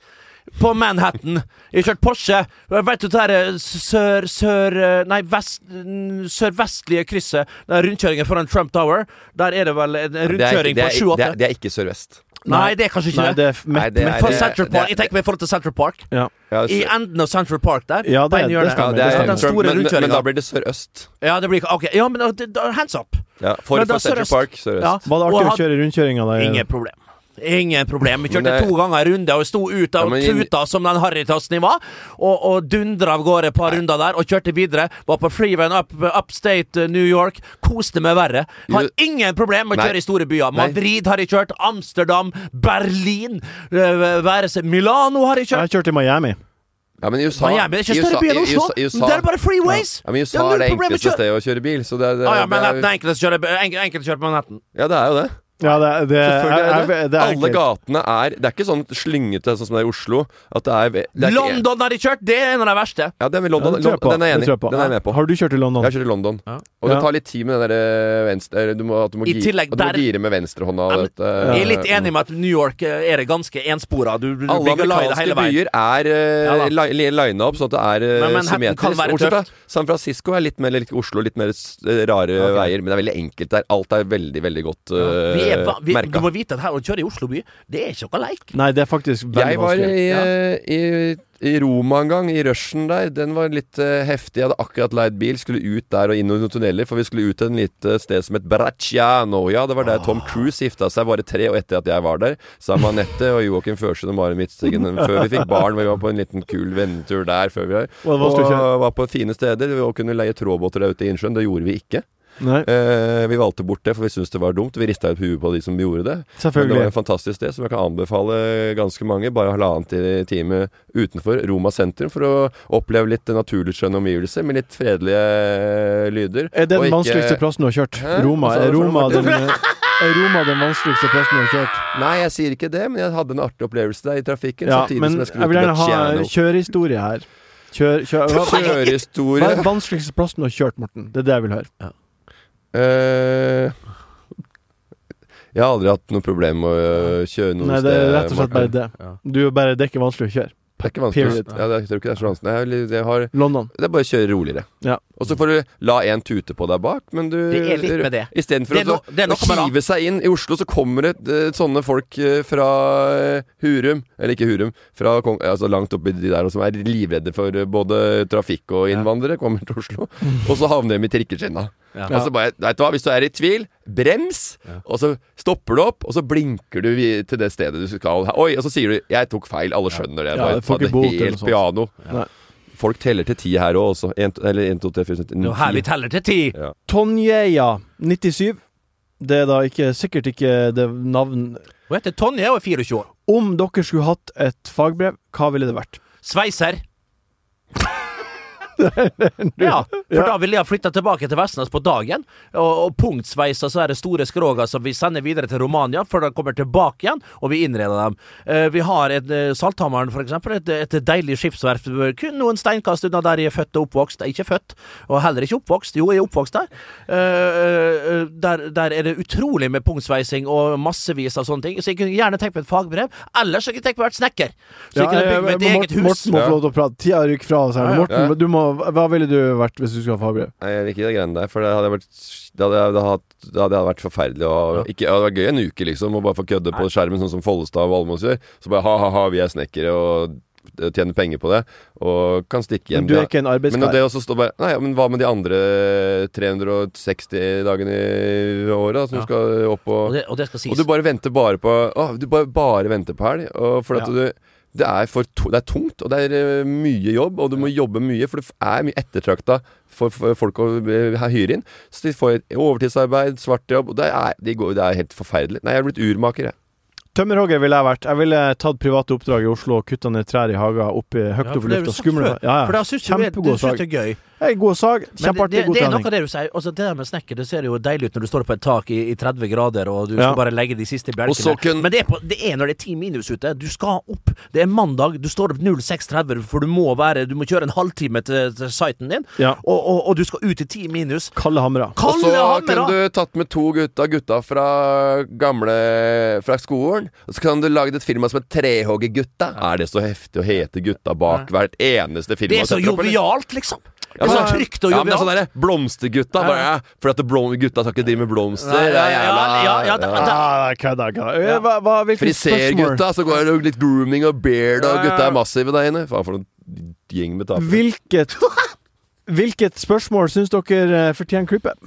S4: på Manhattan. Jeg har kjørt Porsche. Vet du det der eh, sør... sør eh, nei, vest, n- sørvestlige krysset? Den rundkjøringen foran Trump Tower? Der er det vel en en
S5: Det er, ikke-
S4: rundkjøring
S5: det, er,
S4: på
S5: det, er,
S4: 7-8?
S5: det er ikke Sør-Vest.
S4: Nei, det er kanskje ikke
S2: Nei,
S4: det.
S2: det er f-
S5: Nei,
S2: mett-
S5: det er-
S2: mett-
S4: For
S5: det-
S4: Central
S5: det er-
S4: Park, Jeg tenker meg i forhold til Central Park.
S2: Ja.
S5: Ja,
S4: I
S5: sør-
S4: enden av Central Park der.
S2: Ja,
S4: på
S2: det,
S4: ene
S2: det
S4: hjørnet.
S2: stemmer.
S5: det
S2: Det
S5: er
S4: den
S2: stemmer.
S4: store
S5: men, men,
S4: rundkjøringen.
S5: men da blir det Sør-Øst.
S4: Ja, det blir ikke Ok, ja, men da, da, hands up.
S5: Ja, for
S4: Men da
S5: for Central
S4: Sør-Øst.
S5: Park, Sør-Øst.
S4: Ja.
S2: Var det
S4: Og
S2: artig å
S4: had-
S2: kjøre rundkjøringa der?
S4: Ingen problem. Ingen problem. Vi
S5: Men
S4: kjørte
S5: det-
S4: to ganger en runde og sto ut av
S5: Ja, men i-
S4: tuta som den harrytassen jeg var, og, og dundra av gårde et par runder der og kjørte videre. Var på freewayen up, upstate eh, New York. Koste meg verre. Har
S5: Du-
S4: ingen problem med å
S5: Nei.
S4: kjøre i store byer.
S5: Nei.
S4: Madrid har jeg kjørt. Amsterdam. Berlin. eh, Være seg Milano har jeg
S2: Jeg
S4: kjørt.
S2: kjørte i Miami.
S5: Ja, men i USA
S4: Miami er ikke
S5: i
S4: større by enn
S5: i- i
S4: Oslo.
S5: USA- i USA-
S4: Men det er bare freeways.
S5: Ja, men i
S4: Det
S5: USA
S4: er
S5: er det
S4: null problem å
S5: enkleste
S4: kjøre.
S5: stedet å kjøre bil, så det, er- det,
S4: Ah, ja, men
S5: er-
S4: det er enklest å kjøre, enk- enkelt å kjøre på Manhattan.
S5: ja, det er jo det.
S2: Ja, det, det,
S4: Eh,
S5: Selvfølgelig er det.
S2: jeg- jeg- det er
S5: Alle
S2: enkelt.
S5: gatene er Det er ikke sånn slyngete sånn som det er i Oslo. At det er, det er ikke-
S4: London har de kjørt! Det er en av de verste.
S5: Ja, det er med
S2: Ja,
S5: London.
S2: det tror jeg på.
S5: Den er jeg
S2: Det
S5: enig
S2: tror jeg
S5: i.
S2: på.
S5: Den er jeg med på.
S2: Har du kjørt i London?
S5: Jeg har kjørt i London.
S4: Ja.
S5: Og det
S2: Ja.
S5: tar litt tid med den der eh, venstre eller du må, at du må,
S4: I
S5: gi,
S4: tillegg,
S5: at du må
S4: der-
S5: gire med venstrehånda. eh,
S4: Ja, men-
S5: Ja,
S4: Jeg er litt enig med at New York eh, er det ganske enspora. Du, du
S5: Alle
S4: blir glad i det
S5: amerikanske
S4: hele veien.
S5: byer er uh,
S4: Ja da.
S5: lina opp sånn at det er eh,
S4: Men Manhattan
S5: symmetrisk.
S4: kan være
S5: Bortsett fra
S4: tøft.
S5: San Francisco er litt mer likt Oslo, litt mer s- rare veier. Men det er veldig enkelt der. Alt er veldig, veldig godt uh,
S4: Vi er, va- vi, du
S5: merka.
S4: må vite at her å kjøre i Oslo by, det er ikke noe leik.
S2: Nei, det er faktisk veldig
S5: Jeg var
S2: vanskelig.
S5: i, eh, i, i Roma en gang, i rushen der. Den var litt eh, heftig. Jeg hadde akkurat leid bil, skulle ut der og inn i noen tunneler, for vi skulle ut til et lite sted som het Bracciano. Ja, det var der
S2: Ah.
S5: Tom Cruise gifta seg, bare tre år etter at jeg var der. Sammen med Anette og Joakim Førsund og Mari Midtstigen. eh, Før vi fikk barn, vi var på en liten kul vennetur der før vi var.
S2: Og det var
S5: Og
S2: vanskelig å kjøre.
S5: var på fine steder. Vi kunne leie trådbåter der ute i innsjøen. Det gjorde vi ikke.
S2: Nei,
S5: Eh, vi valgte bort det, for vi syntes det var dumt. Vi rista ut huet på de som gjorde det. Men det var
S2: selvfølgelig.
S5: et fantastisk sted som jeg kan anbefale ganske mange. Bare halvannen ti- time utenfor Roma sentrum for å oppleve litt naturlig skjønne omgivelser med litt fredelige lyder.
S2: Er det den
S5: Og ikke-
S2: vanskeligste plassen du har kjørt?
S5: eh, Hæ? Altså,
S2: Roma.
S5: Hva sa
S2: Er
S5: du for
S2: Roma
S5: noe?
S2: den, eh, er Roma den vanskeligste plassen du har kjørt?
S5: Nei, jeg sier ikke det, men jeg hadde en artig opplevelse der i trafikken.
S2: Ja,
S5: samtidig
S2: men
S5: som jeg skulle
S2: jeg vil gjerne ha
S5: til
S2: kjørehistorie her. Kjør, kjør, hva, hva
S5: Luciano.
S2: er den
S5: Kjørehistorie
S2: vanskeligste plassen du har kjørt, Morten? Det er det jeg vil høre.
S5: Eh, Jeg har aldri hatt noe problem med å kjøre noe
S2: Nei,
S5: sted.
S2: det er rett og slett bare
S5: Morten.
S2: det.
S4: Ja.
S2: Du er bare, det er ikke vanskelig å kjøre.
S5: Det er ikke vanskelig.
S2: Period.
S5: Ja, det er, jeg tror ikke det er så vanskelig. Jeg, har- jeg har
S2: London.
S5: Det er bare å kjøre roligere.
S2: Ja.
S5: Og så får du la en tute på deg bak, men du
S4: Det er litt med det.
S5: Istedenfor
S4: Det
S5: å
S4: er no- det er
S5: å
S4: noe med det.
S5: hive seg inn i Oslo, så kommer det eh, sånne folk eh, fra eh, Hurum Eller ikke Hurum, fra Kong, altså langt oppi de der, og som er livredde for eh, både trafikk og innvandrere, kommer til Oslo. Og så havner de i trikkeskinna. Og så bare, vet du hva, Hvis du er i tvil, brems, og så stopper du opp, og så blinker du vi- til det stedet du skal. Oi, Og så sier du 'jeg tok feil', alle skjønner det.
S2: Ja,
S5: bare
S2: du får
S5: ta
S2: ikke bot eller
S5: helt
S2: sånt.
S5: piano.
S2: Nei.
S5: Folk teller til ti her òg, også. En, eller 1, 2, 3, 4, 5,
S4: Det er jo her vi teller til ti.
S2: Tonjeia 97. Det er da ikke, sikkert ikke det navn
S4: Hun heter Tonje og er 24 år.
S2: Om dere skulle hatt et fagbrev, hva ville det vært?
S4: Sveiser. Ja, for da ville jeg flytta tilbake til Vestnes på dagen, og, og punktsveisa så er det store skroga som vi sender videre til Romania, for de kommer tilbake igjen, og vi innreder dem. Eh, vi har et, eh, Salthammeren, for eksempel, et, et deilig skipsverft kun noen steinkast unna der jeg er født og oppvokst. Jeg er Ikke født, og heller ikke oppvokst. Jo, jeg er oppvokst der. Eh, eh, der, der er det utrolig med punktsveising og massevis av sånne ting, så jeg kunne gjerne tenkt meg et fagbrev. Ellers så kunne jeg tenkt meg å være snekker, så jeg kunne bygd meg et
S2: men
S4: eget hus.
S2: Morten må få lov til å prate. Tida rykker fra oss her.
S4: Ja, ja.
S2: Morten,
S5: Ja.
S2: du må, hva ville du vært hvis du skulle ha fagbrev?
S5: Nei, jeg liker de greiene der, for det hadde vært Det hadde, det hadde, hatt- det hadde vært forferdelig å ikke, Det hadde vært gøy en uke, liksom, å bare få kødde på skjermen, sånn som Follestad og Valmås gjør. Så bare ha-ha-ha, vi er snekkere og eh, tjener penger på det, og kan stikke hjem.
S2: Men du er ikke en
S5: Men
S2: arbeidskar.
S5: det også står bare Nei, ja, men hva med de andre 360 dagene i året, da, som
S4: Ja.
S5: du skal opp
S4: Og
S5: og
S4: det, og det skal sies.
S5: Og du bare venter bare på Å, du bare, bare venter på helg. og For at du det er, for, tu- det er tungt, og det er eh, mye jobb, og du må jobbe mye, for det f- er mye ettertrakta for, for folk å eh, ha- hyre inn. Så de får et overtidsarbeid, svart jobb, og det er, de går, det er helt forferdelig. Nei, jeg er blitt urmaker, jeg.
S2: Tømmerhogger ville jeg vært. Jeg ville tatt private oppdrag i Oslo og kutta ned trær i hager oppi høyt opp
S4: Ja,
S2: i
S4: for det har du
S2: lufta.
S4: sagt
S2: Skumle
S4: før.
S2: ja,
S4: For
S2: ja.
S4: det syns du er-
S2: Kjempegod
S4: det syns
S2: sag.
S4: du er gøy.
S2: Hey, god sag.
S4: Men det,
S2: Kjempeartig,
S4: det,
S2: god
S4: det er noe
S2: trening.
S4: av det du sier. Altså, det der med snekker det ser jo deilig ut når du står på et tak i, i 30 grader og du
S2: Ja.
S4: skal bare legge de siste
S5: Og så
S4: bjelkene.
S5: kun-
S4: Men det er, på, det er når det er 10 minus ute. Du skal opp. Det er mandag, du står opp 06.30, for du må være Du må kjøre en halvtime til, til siten din,
S2: Ja.
S4: og, og, og du skal ut i 10 minus.
S2: Kalde hamra.
S5: Og
S4: Kalle
S5: så
S4: Hammer,
S5: kunne
S4: da!
S5: du tatt med to gutta, gutta fra gamle Fra skolen. Og så kan du lagd et firma som het Trehoggergutta. Er det så heftig å hete gutta bak hvert eneste firma?
S4: Det er så
S5: og sette opp, eller?
S4: jovialt, liksom. Det
S5: Ja,
S4: er så
S5: sånn-
S4: trygt og
S5: Ja, men det er sånn
S4: jovialt.
S5: derre Blomstergutta. Bare, ja, for at det blom, gutta skal ikke drive med blomster.
S4: Nei,
S5: det er
S4: ja,
S5: jævla-
S4: ja, ja, da- da-
S2: Ah, kødda, kødda. Eh, Hva, hva, hvilke spørsmål
S5: Frisergutta, så går det jo litt grooming og beard, og
S2: Ja, ja.
S5: gutta er massive der inne. Faen, for noen gjeng med tapere.
S2: Hvilket Hvilket spørsmål syns dere eh, fortjener klippet?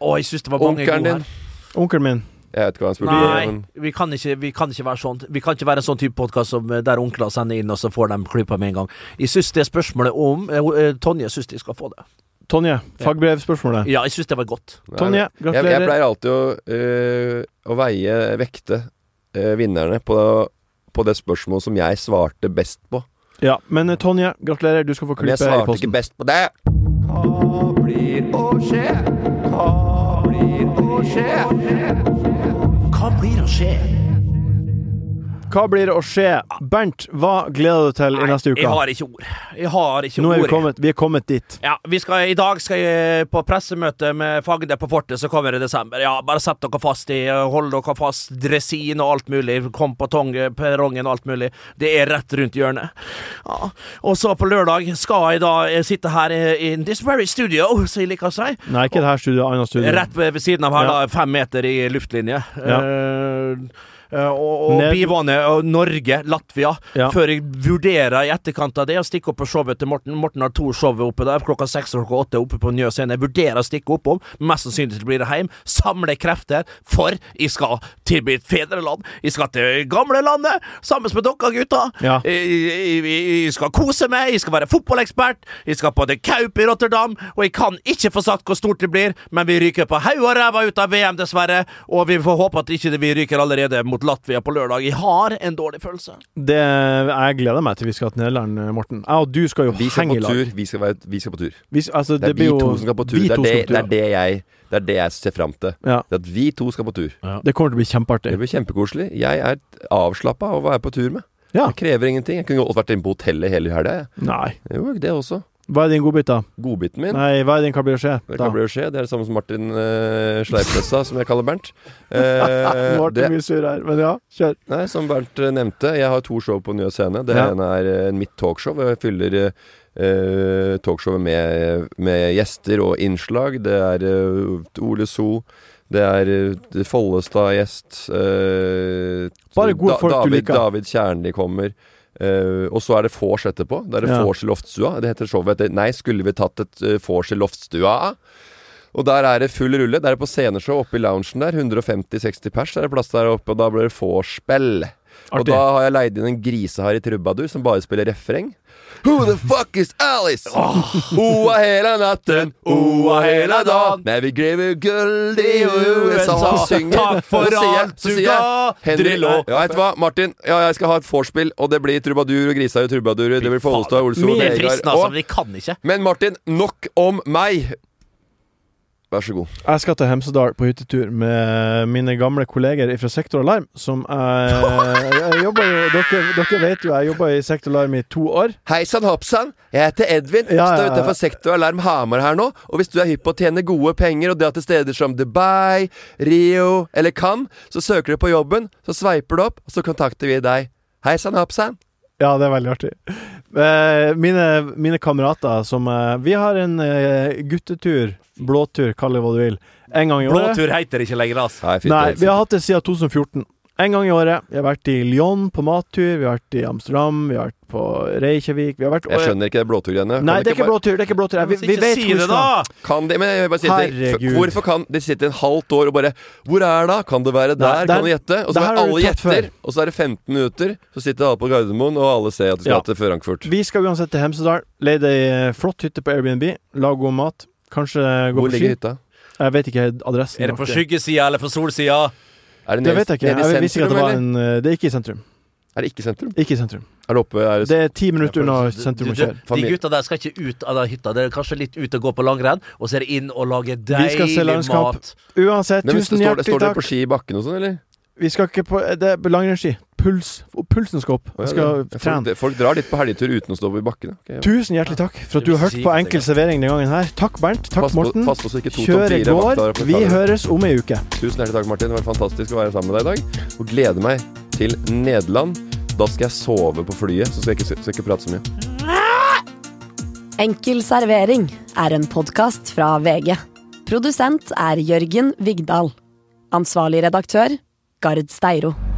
S4: Å, jeg syns det var mange
S5: Onkelen
S4: gode her.
S5: din.
S2: Onkelen min.
S5: Jeg vet ikke hva han spurte
S2: eh,
S5: om.
S4: Nei,
S5: men-
S4: vi kan, ikke, vi kan ikke være sånn Vi kan ikke være en sånn type podkast der onkler sender inn, og så får de klypa med en gang. Jeg syns det spørsmålet om eh, eh, Tonje syns de skal få det.
S2: Tonje, fagbrevspørsmålet.
S4: Ja, jeg syns det var godt.
S5: Nei,
S2: Tonje,
S5: Jeg, jeg
S2: gratulerer.
S5: pleier alltid å, øh, å veie, vekte øh, vinnerne på, på det spørsmålet som jeg svarte best på.
S2: Ja, men eh, Tonje, gratulerer. Du skal få
S5: Men jeg
S2: klippet i
S5: svarte ikke
S2: posten.
S5: best på det. Hva blir å skje? Hva blir å skje?
S4: Hva blir å skje?
S2: Hva blir å skje? Bernt, hva gleder du deg til i neste
S4: Jeg
S2: uke?
S4: har ikke ord. Jeg har ikke
S2: Nå er
S4: ord.
S2: vi kommet, vi er kommet dit.
S4: Ja, vi skal, I dag skal jeg eh, på pressemøte med Fagde på Fortet, som kommer i desember. Ja, Bare sett dere fast i eh, Hold dere fast, dresin og alt mulig. Kom på tong, perrongen og alt mulig. Det er rett rundt hjørnet. Ja. Og så på lørdag skal jeg da eh, sitte her eh, in this very studio, som jeg liker å si.
S2: Nei, ikke det her studioet, annet studio.
S4: Rett ved, ved siden av her,
S2: Ja.
S4: da. Fem meter i luftlinje.
S2: Ja.
S4: Eh, eh, og og
S2: Ned-
S4: bivåne og Norge, Latvia.
S2: Ja.
S4: Før jeg vurderer i etterkant av det å stikke opp på showet til Morten. Morten har to show oppe der, klokka seks og klokka åtte oppe på Njø scene. Jeg vurderer å stikke oppom. Mest sannsynlig blir det hjem. Samle krefter, for jeg skal til mitt fedreland. Jeg skal til gamlelandet sammen med dere, gutta.
S2: Ja.
S4: Jeg, jeg, jeg, jeg skal kose meg, jeg skal være fotballekspert, jeg skal på The Kaup i Rotterdam, og jeg kan ikke få sagt hvor stort det blir, men vi ryker på haug og ræva ut av VM, dessverre, og vi får håpe at ikke vi ryker allerede mot Latvia på lørdag. Jeg har en dårlig følelse.
S2: Det, jeg gleder meg til vi skal til Nederland, eh, Morten. Jeg og du skal jo
S5: Vi skal
S2: henge i
S5: på
S2: lag.
S5: tur. Vi skal, være, vi skal på tur.
S2: Vi, altså,
S5: Det er vi
S2: blir jo-
S5: to som skal på tur.
S2: vi
S5: Det er
S2: to
S5: det,
S2: skal på tur.
S5: det, er det, jeg, det er det jeg ser fram til.
S2: Ja.
S5: Det er at vi to skal på tur.
S2: Det kommer til å bli
S5: Det
S2: kjempeartig.
S5: blir kjempekoselig. Jeg er avslappa av å være på tur med.
S2: Ja.
S5: Det krever ingenting. Jeg kunne godt vært inne på hotellet hele helga, jeg.
S2: Nei.
S5: Jo, det også.
S2: Hva er din godbit, da?
S5: Godbiten min.
S2: Nei, hva er din hva blir å skje?
S5: Det
S2: Da?
S5: kan bli å skje. Det er det samme som Martin uh, Sleipnessa, som jeg kaller Bernt. Eh,
S2: Martin
S5: det,
S2: blir sur her, men ja, kjør.
S5: nei, som Bernt eh, nevnte, jeg har to show på Nye Scene. Det
S2: Ja.
S5: ene er eh, mitt talkshow. og Jeg fyller eh, talkshowet med, med gjester og innslag. Det er eh, Ole So. Det er eh, Follestad-gjest. eh,
S2: Bare gode folk du
S5: David,
S2: liker.
S5: David Kjernli kommer. Eh, og så er det vors etterpå. Det er det
S2: Ja.
S5: vors i loftstua. Det heter showet etter Nei, skulle vi tatt et eh, vors i loftstua? Og der er det full rulle. Det er på sceneshow oppe i loungen der. 150-60 pers er det plass der oppe, og da blir det vorspiel. Og da har jeg leid inn en grisehar i trubadur som bare spiller refreng. Who the fuck is Alice? Hoa hele natten, hoa hele dagen. Men vi graver gull i USA. Hun synger.
S4: Ah, Takk for
S5: Så sier jeg-
S4: alt
S5: så
S4: du
S5: sier jeg,
S4: ga,
S5: Henry,
S4: Drillo.
S5: Ja, vet du hva, Martin. Ja, jeg skal ha et vorspiel, og det blir trubadur og grisehar i trubadur. Det blir Follestad, Olsson,
S4: Det er
S5: Vegard
S4: fristende, altså,
S5: og-
S4: men de kan ikke.
S5: Men Martin, nok om meg. Vær så god.
S2: Jeg skal til Hemsedal på hyttetur med mine gamle kolleger fra Sektor Alarm, som jeg, jeg jobber jo dere, dere vet jo, jeg jobba i Sektor Alarm i to år.
S5: Hei sann, hopp sann. Jeg heter Edvin.
S2: Ja, ja,
S5: Står
S2: ja.
S5: utenfor Sektor Alarm Hamar her nå. Og hvis du er hypp på å tjene gode penger og dra til steder som Dubai, Rio eller Cannes, så søker du på jobben, så sveiper du opp, og så kontakter vi deg. Hei sann, hopp sann.
S2: Ja, det er veldig artig. Eh, mine, mine kamerater som eh, Vi har en eh, guttetur, blåtur, kall det hva du vil, en gang i året.
S4: Blåtur heter ikke lenger, altså.
S5: Nei, fint,
S2: Nei,
S5: det er
S2: vi har
S5: fint.
S2: hatt det siden 2014. En gang i året. Vi har vært i Lyon på mattur, vi har vært i Amsterdam, vi har vært på Reykjavik Vi har vært
S5: Jeg skjønner ikke det blåturgreiene.
S2: Nei,
S5: Kan
S2: det er ikke
S5: bare-
S2: blåtur. det er ikke blåtur Vi, vi
S4: Ikke
S2: vet
S4: si
S2: hvor vi
S4: det,
S2: skal.
S4: da!
S5: Kan de, men jeg vil bare si det.
S2: Herregud.
S5: F- Hvorfor kan de sitte et halvt år og bare Hvor er det? Kan det være der?
S2: Nei, der-
S5: kan de gjette? Og
S2: der
S5: så
S2: har
S5: er
S2: du
S5: alle
S2: tatt
S5: gjetter,
S2: før.
S5: og så er det 15 minutter, så sitter alle på Gardermoen, og alle ser at de skal
S2: Ja.
S5: til Førankfurt.
S2: Vi skal uansett til Hemsedal. Leide ei eh, flott hytte på Airbnb. Lag god mat. Kanskje eh, gå
S5: Hvor
S2: på ski.
S5: ligger hytta?
S2: Jeg vet ikke adressen.
S4: Er det på
S2: nøyaktig.
S4: skyggesida eller på solsida?
S5: Er det
S2: Det
S5: nede-
S2: vet jeg ikke.
S5: nede i
S2: Jeg visste ikke at det
S5: sentrum,
S2: var
S5: eller?
S2: en eh, Det er ikke i sentrum.
S5: Er det ikke sentrum?
S2: Ikke i sentrum.
S5: Er det oppe? Er det
S2: Det er ti minutter unna
S4: Du,
S2: sentrum å
S4: du,
S2: kjøre.
S4: de
S5: Familie.
S4: gutta der skal ikke ut av den hytta. Det er kanskje litt ut og gå på langrenn, og så er det inn og lage
S2: Vi skal se
S4: deilig
S2: landskap.
S4: mat.
S2: Uansett,
S5: Nei, men
S2: tusen
S5: står, det-
S2: hjertelig
S5: står det
S2: takk.
S5: på ski i bakken og sånn, eller?
S2: Vi skal ikke på Det er langrennsski. Puls. Pulsen skal opp.
S5: Å, ja,
S2: Vi skal
S5: det- folk,
S2: trene.
S5: det- folk drar litt på helgetur uten å stå i bakken. ok, ja.
S2: Tusen hjertelig takk for at du har hørt på Enkel servering denne gangen her. Takk, Bernt. Takk,
S5: Pass på-
S2: Morten.
S5: pass på så ikke to tom
S2: Kjøret
S5: fire
S2: går.
S5: vakter på
S2: Vi
S5: kamera.
S2: høres om ei uke.
S5: Tusen hjertelig takk, Martin. Det var fantastisk å være sammen med deg i dag. Og gleder meg til Nederland. Da skal jeg sove på flyet, så skal jeg ikke, skal jeg ikke prate så mye.
S1: Enkel servering er en podkast fra VG. Produsent er Jørgen Vigdal. Ansvarlig redaktør, Gard Steiro.